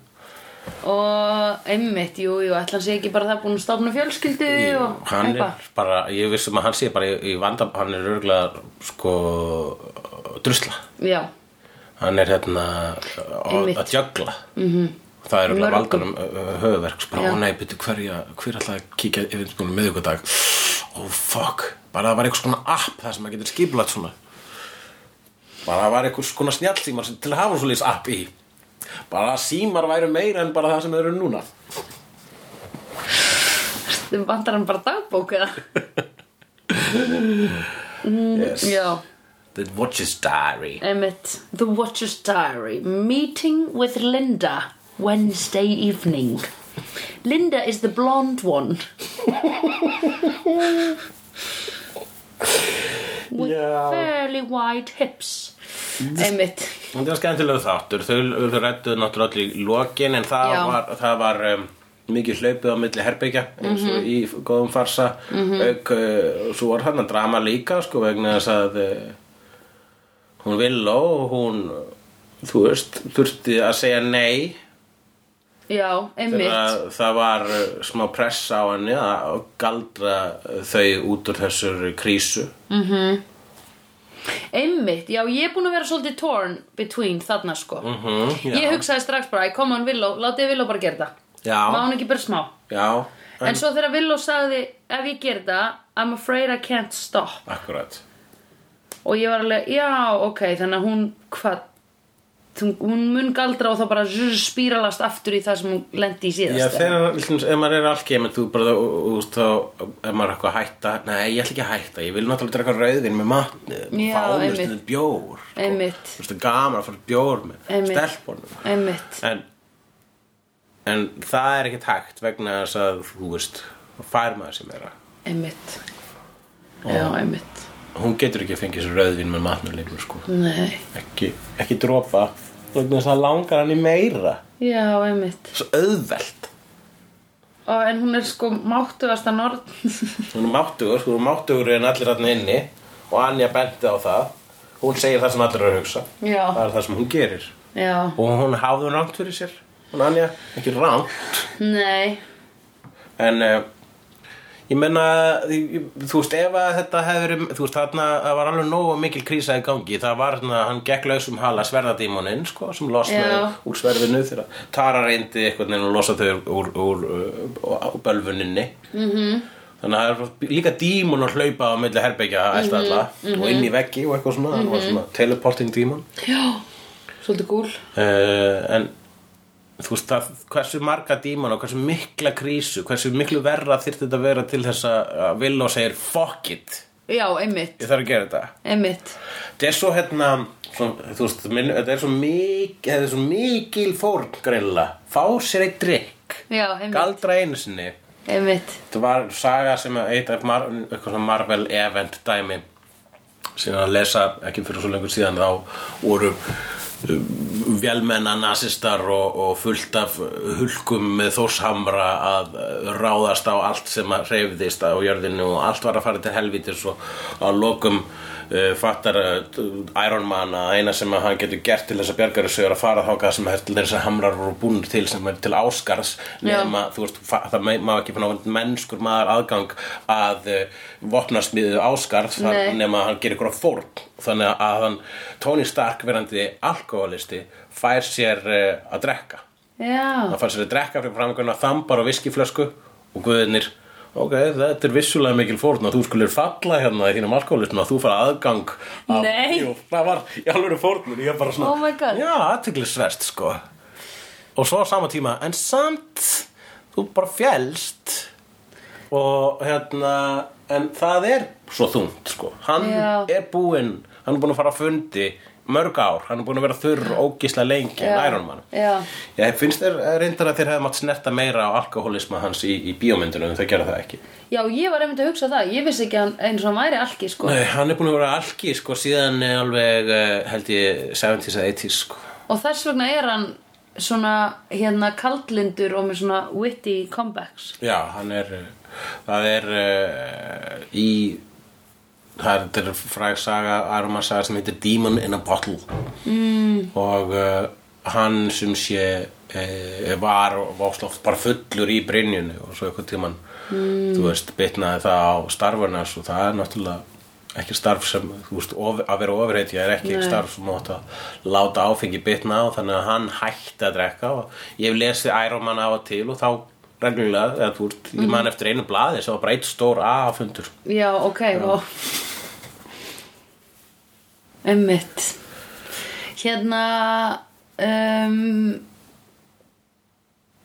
[SPEAKER 2] og einmitt, jú, jú, ætlan sé ekki bara það búin að stofna fjölskyldu og
[SPEAKER 3] Hann er bara, ég vissum að hann sé bara í, í vanda, hann er örgulega sko drusla.
[SPEAKER 2] Já,
[SPEAKER 3] Hann er hérna að
[SPEAKER 2] Einmitt. Mhm.
[SPEAKER 3] að jögla. Mm -hmm. Það er örgulega
[SPEAKER 2] Mörgum.
[SPEAKER 3] valdanum höfuverk, sko,
[SPEAKER 2] Já.
[SPEAKER 3] bara, ó nei, byrju, hverja, hver ætlaði að kíkja yfir sko miðvikudag? Ó, fuck, bara það var einhvers konar app þar sem maður getur skipulagt svona. bara það var einhvers konar snjallsímar sem til að hafa svoleiðis app í bara að símar væru meira en bara það sem þeir eru núna
[SPEAKER 2] þau vantar hann bara dagbók eða
[SPEAKER 3] yes.
[SPEAKER 2] Mhm. Já,
[SPEAKER 3] The Watches Diary
[SPEAKER 2] einmitt The Watcher's Diary Meeting with Linda Wednesday evening Linda is the blonde one With
[SPEAKER 3] Já.
[SPEAKER 2] fairly wide hips Einmitt
[SPEAKER 3] Þetta var skemmtilegu þáttur, þau, þau rættuðu náttúrulega allir í lokin en það
[SPEAKER 2] Já.
[SPEAKER 3] var, það var um, mikið hlaupið á milli herbyggja eins og í góðum farsa auk, uh, og svo var hann að drama líka sko vegna þess að uh, hún vill og hún, þú veist, þurfti að segja nei
[SPEAKER 2] Já,
[SPEAKER 3] Þegar
[SPEAKER 2] einmitt
[SPEAKER 3] að það var uh, smá pressa á henni að galdra uh, þau út úr þessur krísu.
[SPEAKER 2] Einmitt, já ég er búin að vera svolítið torn between þarna sko
[SPEAKER 3] Mhm, já.
[SPEAKER 2] Ég hugsaði strax bara, ég kom hann Villó, látið Villó bara gera þetta
[SPEAKER 3] Já.
[SPEAKER 2] Má hann ekki bara smá
[SPEAKER 3] Já,
[SPEAKER 2] En, svo þegar Villó sagði, ef ég gera þetta, I'm afraid I can't stop
[SPEAKER 3] akkurat.
[SPEAKER 2] Og ég var alveg, já ok, þannig að hún, hvað þú- Hún mun galdra og þá bara zzz, spíralast aftur í það sem hún lendi í síðast
[SPEAKER 3] Já, þegar, til dæmis, ef maður er alkemið, þú bara, þú þú veist, þá, ef maður er eitthvað að hætta, nei, ég ætla ekki að hætta, ég vil náttúrulega draka rauðin með matni,
[SPEAKER 2] Já,
[SPEAKER 3] fánur,
[SPEAKER 2] einmitt.
[SPEAKER 3] stundum bjór, sko.
[SPEAKER 2] Einmitt.
[SPEAKER 3] Þú veist, það er gaman að fara í bjór með
[SPEAKER 2] Einmitt.
[SPEAKER 3] stelpunum.
[SPEAKER 2] Einmitt,
[SPEAKER 3] En, en það er ekkert hægt vegna þess að, þú veist, þá fær maður sem er
[SPEAKER 2] einmitt Já, einmitt
[SPEAKER 3] Hún getur ekki að fengja sér rauðin með matni lengur, sko.
[SPEAKER 2] Nei,
[SPEAKER 3] ekki, ekki dropa vegna þess að langar hann í meira
[SPEAKER 2] já, einmitt
[SPEAKER 3] svo auðvelt
[SPEAKER 2] Ó, En hún er sko máttugasta norn
[SPEAKER 3] hún er máttugur, hún er máttugur en allir hann inni og Anja benti á það hún segir það sem allir eru að hugsa
[SPEAKER 2] Já.
[SPEAKER 3] það er það sem hún gerir
[SPEAKER 2] Já,
[SPEAKER 3] og hún hafði rangt fyrir sér hún Anja, ekki rangt
[SPEAKER 2] nei
[SPEAKER 3] en uh, ég menna þú veist ef að þetta hefur þú veist þarna það var alveg nógu mikil krísa í gangi það var þarna hann gekk laus um hala sverðadímoninn sko sem losnaði
[SPEAKER 2] Já.
[SPEAKER 3] úr sverðinu þegar Tara reyndi einhvern veginn að losa þau úr, úr, úr bölvuninni mm -hmm. þannig að það er líka dímon að hlaupa á milli herbyggja að elta alla og inn í veggi og eitthvað svona, mm -hmm. svona teleporting dímon
[SPEAKER 2] Já, svolítið gúl
[SPEAKER 3] uh, en þú veist það, hversu marga dímona hversu mikla krísu, hversu miklu verra þyrfti þetta að vera til þess að að Villó segir fuck it,
[SPEAKER 2] Já, einmitt,
[SPEAKER 3] ég þarf að gera þetta
[SPEAKER 2] einmitt
[SPEAKER 3] þetta er svo hérna svo, þú veist, minn, þetta er svo mikil þetta er svo mikil fórn greinlega fá sér eitt drikk
[SPEAKER 2] Já, einmitt
[SPEAKER 3] galdra einu sinni
[SPEAKER 2] einmitt
[SPEAKER 3] Þetta var saga sem að eitt af mar eitthvað svona Marvel event dæmi sem að lesa ekki fyrir svo lengur síðan þá voru um, vélmenna nasistar og, og fullt af hulkum með þórshamra að uh, ráðast á allt sem að reyfðist á jörðinu og allt var að fara til helvítis og á lokum uh, fattar uh, Iron Man að eina sem að hann getur gert til þess að bjargar þessu er að fara þákað sem er til þess að hamrar voru búin til sem er til áskars
[SPEAKER 2] Já.
[SPEAKER 3] nema þú veist, fa- það me- má ekki fann mennskur maður aðgang að uh, vopnarsmiðu áskarð
[SPEAKER 2] Nei.
[SPEAKER 3] þann- nema að hann gerir ykkur fórn þannig að hann, Tony Stark verandi alkoholisti fær sér uh, að drekka
[SPEAKER 2] já,
[SPEAKER 3] hann fær sér að drekka fyrir framgöna þambar og viskiflösku og guðinir ok, þetta er vissulega mikil fórn að þú skulir falla hérna í þínum alkoholistum að þú fara aðgang að,
[SPEAKER 2] Nei.
[SPEAKER 3] Jú, það var í alveg fórnur ég bara svona,
[SPEAKER 2] Oh my God.
[SPEAKER 3] já, aðtiklisverst sko og svo á sama tíma en samt, þú bara fjælst og hérna en það er svo þungt sko hann
[SPEAKER 2] Já.
[SPEAKER 3] er búinn, hann er búinn að fara að fundi mörg ár, hann er búinn að vera þurr og ógislega lengi en
[SPEAKER 2] Já.
[SPEAKER 3] Iron Man
[SPEAKER 2] Já.
[SPEAKER 3] Ég finnst þér eh, reyndar að þér hefði mátt snerta meira á alkoholisma hans í, í bíómyndunum en þau gera það ekki
[SPEAKER 2] já, ég var einmitt að hugsa það ég vissi ekki að hann eins og hann væri alki sko.
[SPEAKER 3] Nei, hann er búin að vera alki sko síðan eh, alveg eh, held ég 70s eða 80s sko
[SPEAKER 2] og þess vegna er hann svona hérna kaldlindur og með svona witty comebacks
[SPEAKER 3] Já, hann er eh, það er uh, í það er, þetta er fræg saga Arma saga sem heitir Demon in a Bottle mm. og uh, hann sem sé eh, var vásloft bara fullur í brynjunni og svo eitthvað tíman mm. þú veist, bitnaði það á starfarnas og það er náttúrulega ekki starf sem, þú veist, of, að vera ofurheitja er ekki
[SPEAKER 2] Nei.
[SPEAKER 3] starf sem átt að láta áfengi bitna á, þannig að hann hætti að drekka og ég hef lesið Iron Man af og til og þá reglulega, eða þú veist, ég man eftir einu blaði sem var bara eitt stór A-fundur
[SPEAKER 2] Já, ok, vá Einmitt Hérna um,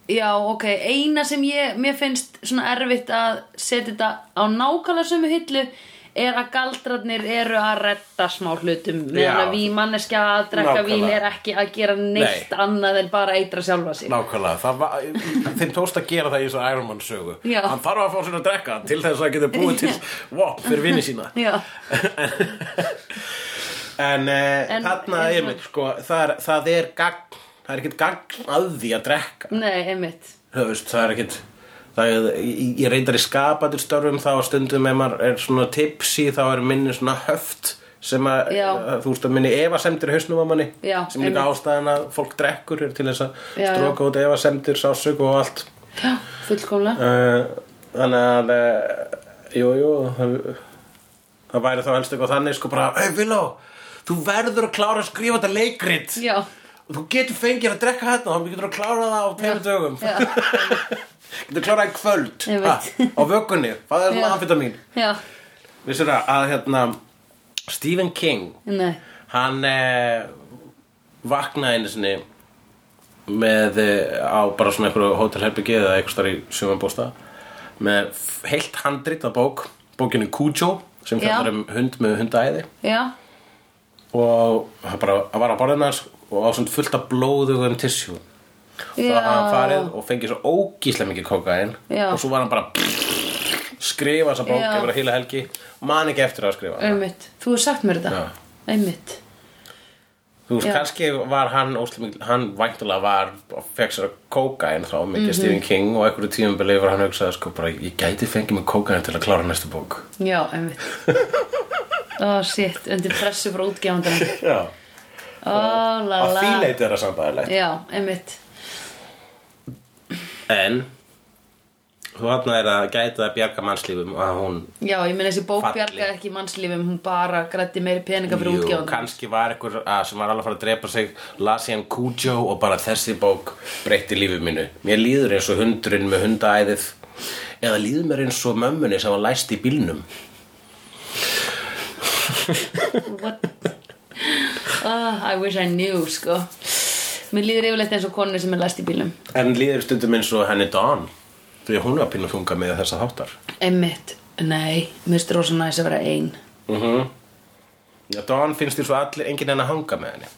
[SPEAKER 2] Já, ok Eina sem ég, mér finnst svona erfitt að setja þetta á nákvæmlega sömu hillu er að galdrarnir eru að redda smá hlutum meðan
[SPEAKER 3] Já.
[SPEAKER 2] að vín manneskja að drekka
[SPEAKER 3] Nákvæmlega.
[SPEAKER 2] vín er ekki að gera neitt
[SPEAKER 3] Nei.
[SPEAKER 2] annað en bara eitra sjálfa sig
[SPEAKER 3] Nákvæmlega, það var, þeim tókst að gera það í þessu Iron Man sögu
[SPEAKER 2] Já.
[SPEAKER 3] Hann þarf að fá sér að drekka til þess að geta búið til vop fyrir vinni sína
[SPEAKER 2] Já,
[SPEAKER 3] En, eh,
[SPEAKER 2] En-
[SPEAKER 3] þarna
[SPEAKER 2] en-
[SPEAKER 3] er mitt, sko, það er, það er gagn, það er ekkert gagn að því að drekka
[SPEAKER 2] nei, einmitt
[SPEAKER 3] þú veist, það er ekkit það er, ég, ég reyndar í skapatir störfum þá stundum ef maður er svona tipsi þá er minni svona höft sem að,
[SPEAKER 2] Já.
[SPEAKER 3] að þú veist að minni efasemdir í hausnum á manni,
[SPEAKER 2] Já,
[SPEAKER 3] sem er líka
[SPEAKER 2] einmitt.
[SPEAKER 3] ástæðan að fólk drekkur er til þess að
[SPEAKER 2] Já, já.
[SPEAKER 3] stróka út efasemdir, sásök og allt
[SPEAKER 2] Já, fullkomlega
[SPEAKER 3] uh, þannig að uh, jú, jú það, það væri þá helst eitthvað þannig sko bara, ei Viló, þú verður að klára að skrifa þetta leikrit
[SPEAKER 2] Já,
[SPEAKER 3] og þú getur fengið að drekka hérna og þú getur að klára það á tveimur dögum
[SPEAKER 2] Já.
[SPEAKER 3] getur að klára það í kvöld
[SPEAKER 2] Ég
[SPEAKER 3] ha,
[SPEAKER 2] veit.
[SPEAKER 3] á vökunni, það er
[SPEAKER 2] Já.
[SPEAKER 3] svona amfetamin
[SPEAKER 2] já,
[SPEAKER 3] vissir það að hérna Stephen King
[SPEAKER 2] nei
[SPEAKER 3] hann eh, vaknaði einu sinni með eh, á bara svona einhverju hótelherbyggi eða einhvers þar í sjömanbósta með f- heilt handrit af bók bókinu Cujo sem
[SPEAKER 2] Já.
[SPEAKER 3] fjallar um hund með hundaæði
[SPEAKER 2] Já,
[SPEAKER 3] og hann bara hann var á borðinu hans og á svona fullt af blóðugum tissjúum og það var hann farið og fengið svo ógíslega mikið kokain
[SPEAKER 2] Já.
[SPEAKER 3] og svo var hann bara skrifa þessa bók
[SPEAKER 2] Já.
[SPEAKER 3] yfir að heila helgi man ekki eftir að skrifa hana.
[SPEAKER 2] einmitt, þú hefur sagt mér þetta
[SPEAKER 3] Já.
[SPEAKER 2] Einmitt,
[SPEAKER 3] þú veist,
[SPEAKER 2] Já.
[SPEAKER 3] kannski var hann óslega mikið, hann væntulega var og fekk sér að kokain þá
[SPEAKER 2] Mhm.
[SPEAKER 3] mikið Stephen King og einhverju tímabili yfir hann hugsaði sko bara, ég gæti fengið mig kokain til að klára næstu bók
[SPEAKER 2] já, einmitt Ó, shit, undir pressu frá útgefandana
[SPEAKER 3] Já,
[SPEAKER 2] Ó, la
[SPEAKER 3] að
[SPEAKER 2] la
[SPEAKER 3] því leiti er það sambæðilegt
[SPEAKER 2] Já, einmitt
[SPEAKER 3] en þú hann er að gæta að bjarga mannslífum og að hún
[SPEAKER 2] Já, ég meina þessi bók
[SPEAKER 3] Falli.
[SPEAKER 2] bjargaði ekki mannslífum Hún bara grætti meiri peninga fyrir
[SPEAKER 3] Jú,
[SPEAKER 2] útgefandana
[SPEAKER 3] kannski var einhver að, sem var alveg að fara að drepa sig las ég hann Cujo og bara þessi bók breytti lífið mínu mér líður eins og hundurinn með hundaæðið eða líður mér eins og mömmunni sem var læst í bílnum
[SPEAKER 2] What? Oh, I wish I knew, sko Mér líður yfirleitt eins og konu sem er læst í bílum
[SPEAKER 3] en líður stundum eins og henni Dawn því að hún var pínu þunga með þessa þáttar
[SPEAKER 2] Einmitt, nei, mér finnst rosa næs að vera ein
[SPEAKER 3] mm -hmm. Dawn finnst þér svo allir enginn henni að hanga með henni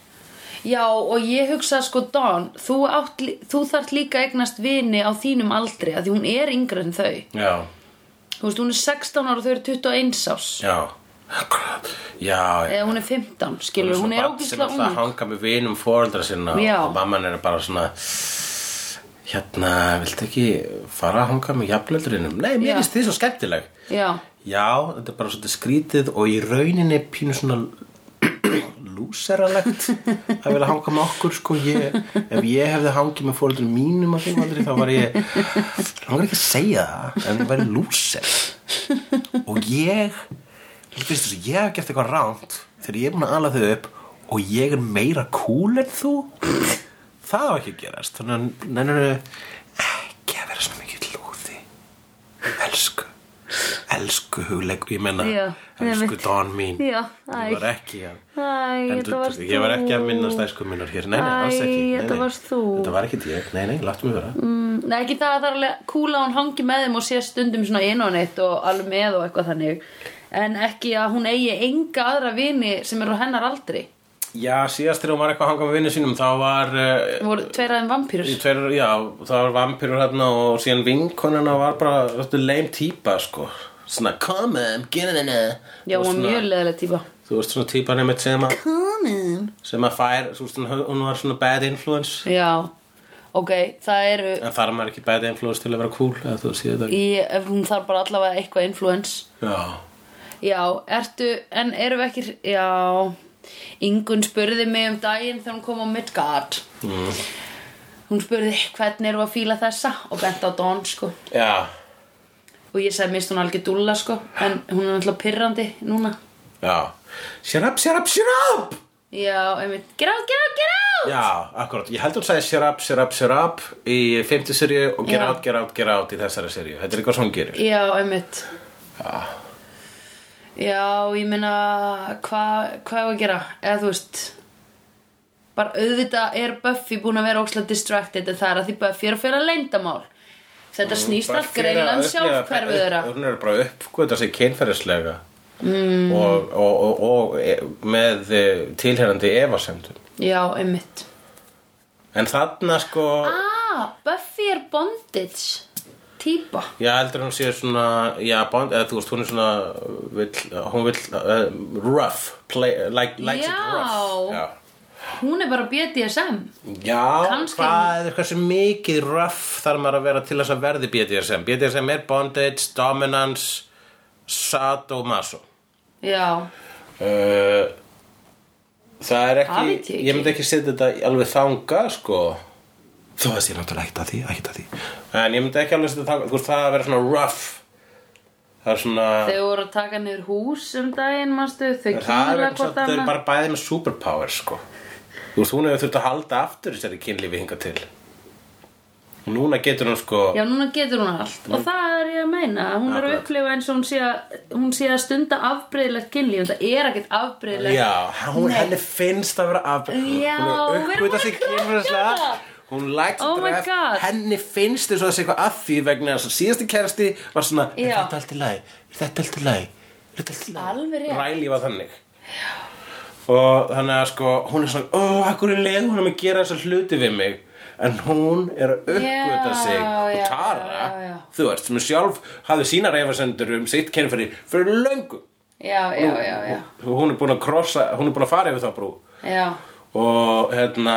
[SPEAKER 2] Já, og ég hugsa sko Dawn, þú, átt, lí- þú þarft líka að eignast vini á þínum aldri að því hún er yngri en þau.
[SPEAKER 3] Já,
[SPEAKER 2] Þú veist, hún er 16 ára og þau eru 21 árs.
[SPEAKER 3] já Já, já
[SPEAKER 2] Eða hún er 15, skilur, hún
[SPEAKER 3] Svona
[SPEAKER 2] er
[SPEAKER 3] barn sem
[SPEAKER 2] ógislega
[SPEAKER 3] alltaf
[SPEAKER 2] ung.
[SPEAKER 3] hanga með vinum fóreldra sinna
[SPEAKER 2] Já.
[SPEAKER 3] og mamman er bara svona hérna, viltu ekki fara að hanga með jafnöldurinnum? Nei,
[SPEAKER 2] Já.
[SPEAKER 3] mér finnst þið svo skemmtileg
[SPEAKER 2] Já,
[SPEAKER 3] Já, þetta er bara svolítið skrítið og í rauninni pínu svona lúseralegt að vilja hanga með okkur sko ég, ef ég hefði hangið með fóreldur mínum að þeim aldrei þá var ég hann var ekki að segja það en ég væri lúser og ég finnst þessu, ég hef gert eitthvað ránt þegar ég er búin að ala þau upp og ég er meira cool en þú það var ekki að gerast þannig að nennir ekki að vera svona mikið lúði elsku elsku hugleikur, ég menna
[SPEAKER 2] Já,
[SPEAKER 3] elsku
[SPEAKER 2] einmitt.
[SPEAKER 3] Don mín
[SPEAKER 2] Já, æ.
[SPEAKER 3] ég var ekki að
[SPEAKER 2] Æ,
[SPEAKER 3] En
[SPEAKER 2] þetta
[SPEAKER 3] þú-
[SPEAKER 2] varst
[SPEAKER 3] ég var ekki að
[SPEAKER 2] þú.
[SPEAKER 3] minnast æsku minnar hér, nei, nei,
[SPEAKER 2] Æ,
[SPEAKER 3] alls ekki nei,
[SPEAKER 2] þetta
[SPEAKER 3] nei.
[SPEAKER 2] varst þú.
[SPEAKER 3] Þetta var ekki ég, nei, nei, láttu mig vera
[SPEAKER 2] Mm, Nei, ekki það að það er alveg cool að hún hangi með þeim og sé stundum svona inn á neitt og alveg með og eitthvað þannig en ekki að hún eigi enga aðra vini sem eru á hennar aldri
[SPEAKER 3] Já, síðast þegar hún var eitthvað að hanga með vinnu sínum þá var, uh,
[SPEAKER 2] voru tveir aðeim vampýrur
[SPEAKER 3] tver, já, þá var vampirur hérna og síðan vinkonuna var bara röttu leim típa, sko Svona, come on, get in there
[SPEAKER 2] Já, hún var mjög leðilega típa
[SPEAKER 3] Þú veist svona típan einmitt sem að sem að fær, svo, svona, hún var svona bad influence
[SPEAKER 2] Já, ok, það eru
[SPEAKER 3] En þar maður ekki bad influence til að vera cool eða þú séð þetta ekki
[SPEAKER 2] í, ef hún þarf bara allavega eitthvað influence
[SPEAKER 3] Já,
[SPEAKER 2] Já, ertu, en erum við ekki, já, Ingun spurði mig um daginn þegar hún kom á Midgard. Mm. Hún spurði, hvernig erum við að fíla þessa? Og bent á Don, sko.
[SPEAKER 3] já,
[SPEAKER 2] Og ég sagði, mist hún algjör dúlla, sko. En hún er náttúrulega pirrandi núna.
[SPEAKER 3] já Shut up, shut up, shut up
[SPEAKER 2] Já, einmitt, get out, get out, get out!
[SPEAKER 3] Já, akkurat, ég heldur að segja shut up, shut up, shut up í 50 seríu og get
[SPEAKER 2] Já.
[SPEAKER 3] out, get out, get out í þessari seríu Þetta er eitthvað sem hún gerir
[SPEAKER 2] Já, einmitt. Já, ég meina, hvað hva er að gera? Eða þú veist, bara auðvitað er Buffy búin að vera ókslega distracted en það er að því Buffy er að fjöra leyndamál.
[SPEAKER 3] Mm,
[SPEAKER 2] Þetta snýst allt greinlega um sjálfhverfið þeirra.
[SPEAKER 3] Hún er bara uppgöta sig kynferðislega mm. og, og, og, og e, með e, tilherrandi efasemdum
[SPEAKER 2] Já, einmitt.
[SPEAKER 3] En þarna sko,
[SPEAKER 2] Ah, Buffy er bondage típa.
[SPEAKER 3] ég heldur að hún sé svona, já, bond, eða þú veist, hún er svona, vill, hún vill, uh, rough, play, like, likes it
[SPEAKER 2] Já.
[SPEAKER 3] rough Já,
[SPEAKER 2] Hún er bara BDSM.
[SPEAKER 3] Já,
[SPEAKER 2] Kannski-
[SPEAKER 3] hvað er hversu mikið rough þarf maður að vera til þess að verði BDSM? BDSM er bondage, dominance, sadomaso.
[SPEAKER 2] Já,
[SPEAKER 3] Uh, það er
[SPEAKER 2] Það
[SPEAKER 3] ekki,
[SPEAKER 2] veit ég ekki.
[SPEAKER 3] myndi ekki setja þetta í alveg þanga, sko. Þó að sé náttúrulega ekkert að því, ekkert að því. En ég myndi ekki alveg setja þanga, þú veist, það að vera svona rough. Það er svona...
[SPEAKER 2] þau voru að taka niður hús um daginn, manstu, þau
[SPEAKER 3] Það er
[SPEAKER 2] kýla
[SPEAKER 3] vegna
[SPEAKER 2] hvort
[SPEAKER 3] þess að þau eru
[SPEAKER 2] annað.
[SPEAKER 3] bara bæði með superpowers sko. Þú veist, hún hefur þurft að halda aftur þessari kynlífi hinga til og núna getur hún sko
[SPEAKER 2] Já, núna getur hún allt og það er ég að meina hún er að
[SPEAKER 3] Akkurat.
[SPEAKER 2] upplifa eins og hún sé að, hún sé að stunda afbreyðilegt kynlíf en það er ekkert afbreyðilegt
[SPEAKER 3] Já, hún, henni finnst að vera afbreyð
[SPEAKER 2] Já,
[SPEAKER 3] hún
[SPEAKER 2] við
[SPEAKER 3] er
[SPEAKER 2] erum
[SPEAKER 3] uppgöta
[SPEAKER 2] að
[SPEAKER 3] sig
[SPEAKER 2] klappa.
[SPEAKER 3] kynfæðislega hún likes
[SPEAKER 2] Oh
[SPEAKER 3] að
[SPEAKER 2] my
[SPEAKER 3] draft
[SPEAKER 2] God.
[SPEAKER 3] henni finnst þess að þessi eitthvað að því vegna þess að síðasti kærasti var svona er
[SPEAKER 2] Já.
[SPEAKER 3] þetta allt í lagi, er þetta allt í lagi er þetta allt í lagi
[SPEAKER 2] Alveg rétt.
[SPEAKER 3] Riley var þannig og þannig að sko hún er svona, ó, akkur er leið hún að gera þessa hluti við mig en hún er að uppgöta
[SPEAKER 2] Já,
[SPEAKER 3] sig og
[SPEAKER 2] já,
[SPEAKER 3] Tara,
[SPEAKER 2] já, já.
[SPEAKER 3] þú veist, sem sjálf hafði sína reyfarsendur um sitt kynfæri fyrir löngu
[SPEAKER 2] já, já, já, já.
[SPEAKER 3] hún er búin að krossa, hún er búin að fara yfir þá brú
[SPEAKER 2] já.
[SPEAKER 3] og hérna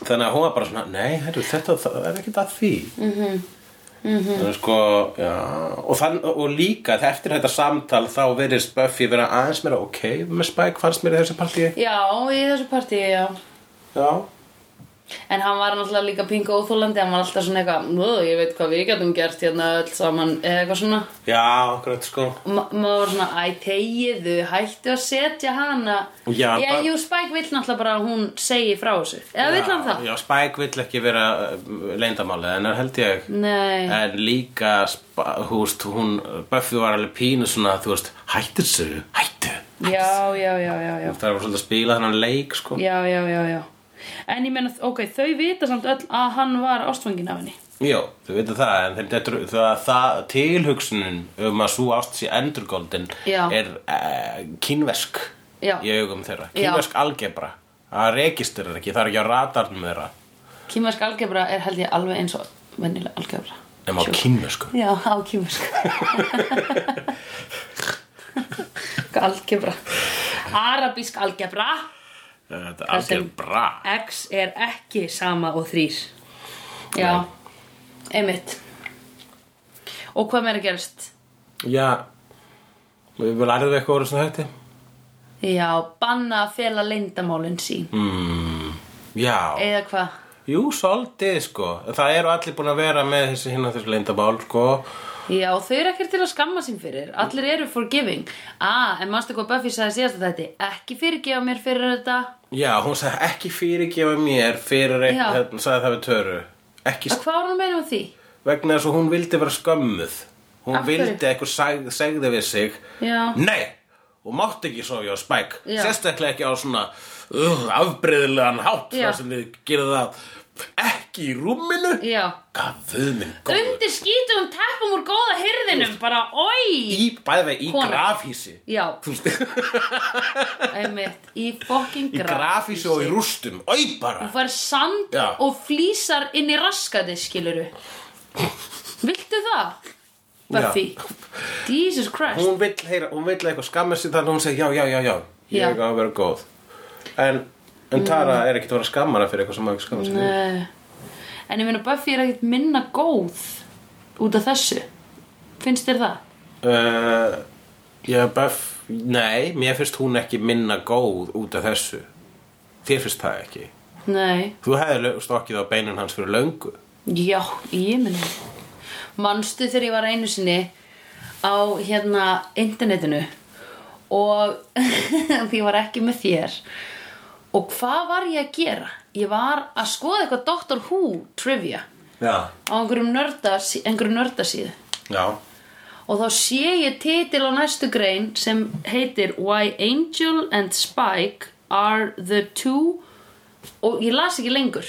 [SPEAKER 3] þannig að hún var bara svona nei, heru, þetta það er ekkert að því mm
[SPEAKER 2] Mhm.
[SPEAKER 3] -hmm. sko, já, og, þann, og líka eftir þetta samtal þá verðist Buffy vera aðeins meira ok með Spike fannst mér í þessu partíi
[SPEAKER 2] já í þessu partíi, já
[SPEAKER 3] já,
[SPEAKER 2] en hann var náttúrulega líka pingu óþólandi hann var alltaf svona eitthvað, "Nú, ég veit hvað við getum gert hérna öll saman eða eitthvað svona
[SPEAKER 3] já, akkurat sko
[SPEAKER 2] og ma- maður var svona, æ, tegiðu, hættu að setja hana
[SPEAKER 3] Já,
[SPEAKER 2] já
[SPEAKER 3] bara-
[SPEAKER 2] jú, Spike vill náttúrulega bara að hún segi frá þessu eða vill hann það?
[SPEAKER 3] já, Spike vill ekki vera leindamálið en er held ég
[SPEAKER 2] Nei
[SPEAKER 3] En líka, spa- þú veist, hún, Buffy var alveg pínu svona, þú veist, hættu þessu, hættu.
[SPEAKER 2] Já, já, já, já, já,
[SPEAKER 3] Það var svolítið að spila þennan leik, sko.
[SPEAKER 2] já, já, já, já. En ég meina, ok, þau vita samt öll að hann var ástfangin af henni.
[SPEAKER 3] Jó, þau veitir það, en þeim dettur, það, það tilhugsunin um að svo ást sé endurgóldin
[SPEAKER 2] Já.
[SPEAKER 3] er uh, kínversk
[SPEAKER 2] Já.
[SPEAKER 3] í augum þeirra,
[SPEAKER 2] Já.
[SPEAKER 3] kínversk algebra Það registurir ekki, það er ekki á radarnum þeirra
[SPEAKER 2] Kýmversk algebra er held ég alveg eins og vennilega algebra
[SPEAKER 3] nema á
[SPEAKER 2] Sure.
[SPEAKER 3] kínversku
[SPEAKER 2] Já, á kýmversk Algebra Arabísk algebra
[SPEAKER 3] Eh, Þetta er
[SPEAKER 2] Þar sem-
[SPEAKER 3] algjör bra
[SPEAKER 2] X er ekki sama og þrýr Já, einmitt Og hvað meira gerst?
[SPEAKER 3] Já, við lærðum eitthvað úr þessum hætti
[SPEAKER 2] Já, banna að fela leyndamálin sín
[SPEAKER 3] Já,
[SPEAKER 2] Eða hvað?
[SPEAKER 3] jú, svolítið sko Það eru allir búin að vera með þessi hinn að þessu leyndabál sko
[SPEAKER 2] Já, þau eru ekkert til að skamma sín fyrir Allir eru forgiving Ah, en manstu hvað Buffy sagði síðast að þetta Ekki fyrirgefa mér fyrir þetta
[SPEAKER 3] Já, hún sagði ekki fyrirgefa mér fyrir
[SPEAKER 2] Já.
[SPEAKER 3] eitthvað, hún sagði það við töru ekki,
[SPEAKER 2] Að Hvað var hann meina um því?
[SPEAKER 3] vegna þess að hún vildi vera skömmuð hún
[SPEAKER 2] Af hverju?
[SPEAKER 3] vildi eitthvað sag, segði við sig
[SPEAKER 2] Já.
[SPEAKER 3] Nei, og mátt ekki sofi á spæk
[SPEAKER 2] Já.
[SPEAKER 3] sérstaklega ekki á svona uh, afbreyðilegan hátt
[SPEAKER 2] Já.
[SPEAKER 3] þar sem þið gerir það ekki í rúminu
[SPEAKER 2] Já
[SPEAKER 3] Gafið minn góður
[SPEAKER 2] Undir skítum teppum úr góða hyrðinum Bara, oi
[SPEAKER 3] í, bæði vegi í
[SPEAKER 2] Konur.
[SPEAKER 3] grafhísi
[SPEAKER 2] Já,
[SPEAKER 3] Þú veist,
[SPEAKER 2] einmitt Í fucking
[SPEAKER 3] í grafhísi og í rústum Ói bara
[SPEAKER 2] Þú fær sand
[SPEAKER 3] Já.
[SPEAKER 2] og flýsar inn í raskati, skiluru Viltu það? Buffy Jesus Christ
[SPEAKER 3] hún vill, heyra, hún vill eitthvað skamma sig þannig að hún segir já, já, já, já,
[SPEAKER 2] Já. Mm.
[SPEAKER 3] ég á að vera góð en, en Tara er ekkert að vera skammara fyrir eitthvað sem maður ekki skamma sig fyrir.
[SPEAKER 2] Nei. Eh, En ég meina Buffy er ekkert minna góð út af þessu Finnst þér það?
[SPEAKER 3] uh, já, Buff nei, mér finnst hún ekki minna góð út af þessu þér finnst það ekki
[SPEAKER 2] Nei
[SPEAKER 3] þú hefði stokkið á beinun hans fyrir löngu
[SPEAKER 2] Já, ég meni Manstu þegar ég var einu sinni á hérna internetinu og því ég var ekki með þér og hvað var ég að gera? Ég var að skoða eitthvað Doctor Who trivia
[SPEAKER 3] já,
[SPEAKER 2] á einhverjum, nördas, einhverjum nördasíðu
[SPEAKER 3] já,
[SPEAKER 2] og þá sé ég titil á næstu grein sem heitir Why Angel and Spike are the two og ég las ekki lengur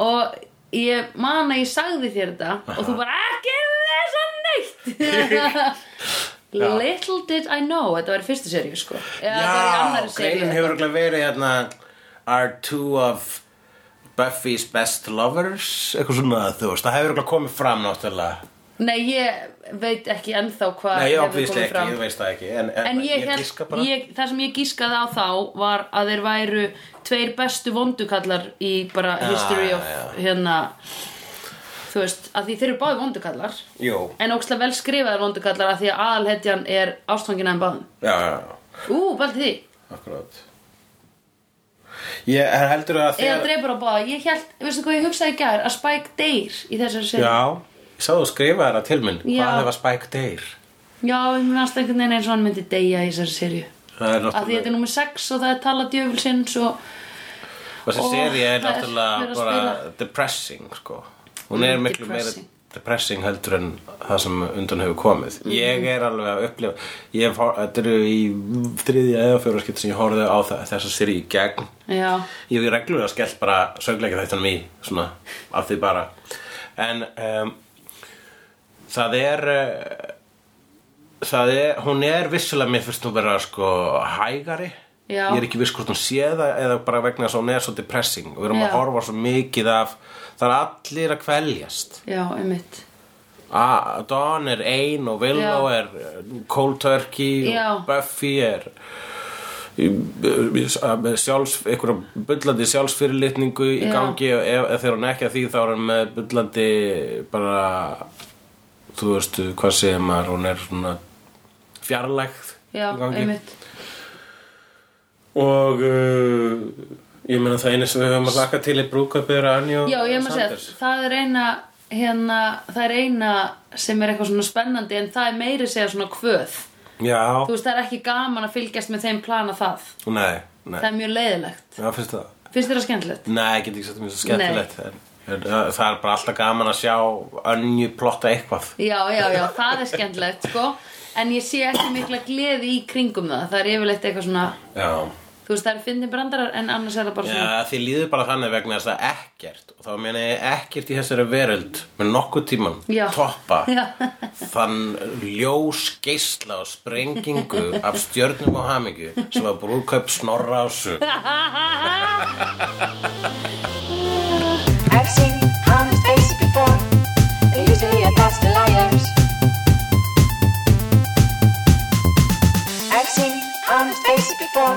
[SPEAKER 2] og ég man að ég sagði þér þetta og þú bara ekki þessa neitt Little did I know þetta var í fyrstu seríu sko Eða þetta var í
[SPEAKER 3] já
[SPEAKER 2] annarri seríu.
[SPEAKER 3] greinin hefur örugglega verið hérna are two of Buffy's best lovers eitthvað svona þú veist, það hefur örugglega komið fram náttúrulega
[SPEAKER 2] Nei, ég veit ekki ennþá hvað
[SPEAKER 3] Nei, ég
[SPEAKER 2] hefur
[SPEAKER 3] obvíðist
[SPEAKER 2] komið
[SPEAKER 3] ekki,
[SPEAKER 2] fram.
[SPEAKER 3] ég veist það ekki En,
[SPEAKER 2] En ég, ég,
[SPEAKER 3] giska bara
[SPEAKER 2] ég, það sem ég gískaði á þá var að þeir væru tveir bestu vondukallar í bara history of
[SPEAKER 3] já.
[SPEAKER 2] hérna þú veist, að því þeir eru báði vondukallar
[SPEAKER 3] Jú,
[SPEAKER 2] en ókslega vel skrifaðar vondukallar að því að aðalhetjan er ástfangina en báðum
[SPEAKER 3] já, já,
[SPEAKER 2] Ú, bælt því,
[SPEAKER 3] akkurát Ég er heldur að
[SPEAKER 2] eða
[SPEAKER 3] þegar
[SPEAKER 2] dreipur á báða ég held, veistu hvað ég hugsaði í gær að Spike deyr í þessari sér
[SPEAKER 3] Já, ég sá þú skrifa þetta til minn
[SPEAKER 2] Já.
[SPEAKER 3] Hvað ef að Spike deyr?
[SPEAKER 2] já ég minnast einhvern veginn eins og hann myndi deyja í þessari serju
[SPEAKER 3] Það er
[SPEAKER 2] að því þetta
[SPEAKER 3] náttúrulega
[SPEAKER 2] er nummer 6 og það er tala djöfulsins og
[SPEAKER 3] Þessi
[SPEAKER 2] Ó,
[SPEAKER 3] seri er
[SPEAKER 2] það er
[SPEAKER 3] náttúrulega
[SPEAKER 2] verið að
[SPEAKER 3] bara
[SPEAKER 2] spila.
[SPEAKER 3] depressing sko. Hún er
[SPEAKER 2] Mm,
[SPEAKER 3] miklu meira
[SPEAKER 2] depressing.
[SPEAKER 3] depressing heldur en það sem undan hefur komið
[SPEAKER 2] Mm.
[SPEAKER 3] Ég er alveg að upplifa Ég hef, hor- Þetta eru í þriðja eða fjóra skipt sem ég horfði á það, þessa seri í gegn
[SPEAKER 2] já,
[SPEAKER 3] Ég hef reglulega skellt bara söngleika þættunum í svona, af því bara en um, það er uh, það er, hún er vissulega mér fyrst hún vera sko hægari
[SPEAKER 2] Já.
[SPEAKER 3] ég er ekki viss hvort hún sé það eða bara vegna þess að hún er svo depressing og við erum
[SPEAKER 2] Já.
[SPEAKER 3] að horfa svo mikið af það er allir að kveljast
[SPEAKER 2] já, einmitt
[SPEAKER 3] Ah, Dawn er ein og Willow
[SPEAKER 2] Já.
[SPEAKER 3] er eh, Cold Turkey
[SPEAKER 2] Já.
[SPEAKER 3] og Buffy er í- eh, með sjálfs, einhverja bullandi sjálfsfyrirlitningu í
[SPEAKER 2] Já.
[SPEAKER 3] gangi og ef, ef þegar hún er ekki að því þá er hún með bullandi bara þú veist hvað segir maður hún er svona fjarlægð
[SPEAKER 2] já,
[SPEAKER 3] í gangi
[SPEAKER 2] einmitt
[SPEAKER 3] og uh, ég meina það einu sem við höfum að laka til í brúkabið er Anja og
[SPEAKER 2] Já, ég maður segja,
[SPEAKER 3] Sanders
[SPEAKER 2] það er eina hérna, það er eina sem er eitthvað svona spennandi en það er meiri segja svona kvöð
[SPEAKER 3] Já,
[SPEAKER 2] þú veist, það er ekki gaman að fylgjast með þeim plana það
[SPEAKER 3] nei, nei,
[SPEAKER 2] það er mjög leiðilegt
[SPEAKER 3] já finnst það
[SPEAKER 2] finnst þér það skemmtilegt?
[SPEAKER 3] Nei, ég get ekki sagt mér svo skemmtilegt en, en, uh, Það er bara alltaf gaman að sjá önju plotta eitthvað
[SPEAKER 2] Já, já, já, það er skemmtilegt, sko en ég sé ekki mikla gleði í kringum það það er yfirleitt eitthvað svona
[SPEAKER 3] Já,
[SPEAKER 2] þú veist það er fyndin brandarar en annars er það bara svona
[SPEAKER 3] Já, því líður bara þannig vegna þess að ekkert og þá meina ég ekkert í þessari veröld með nokkuð tíman
[SPEAKER 2] Já.
[SPEAKER 3] toppa
[SPEAKER 2] Já.
[SPEAKER 3] þann ljós geisla og sprengingu af stjörnum og hamingju sem var brúðkaup snorra ásu
[SPEAKER 4] I've seen honest faces before. They're usually a pass to liars. I've seen honest faces before.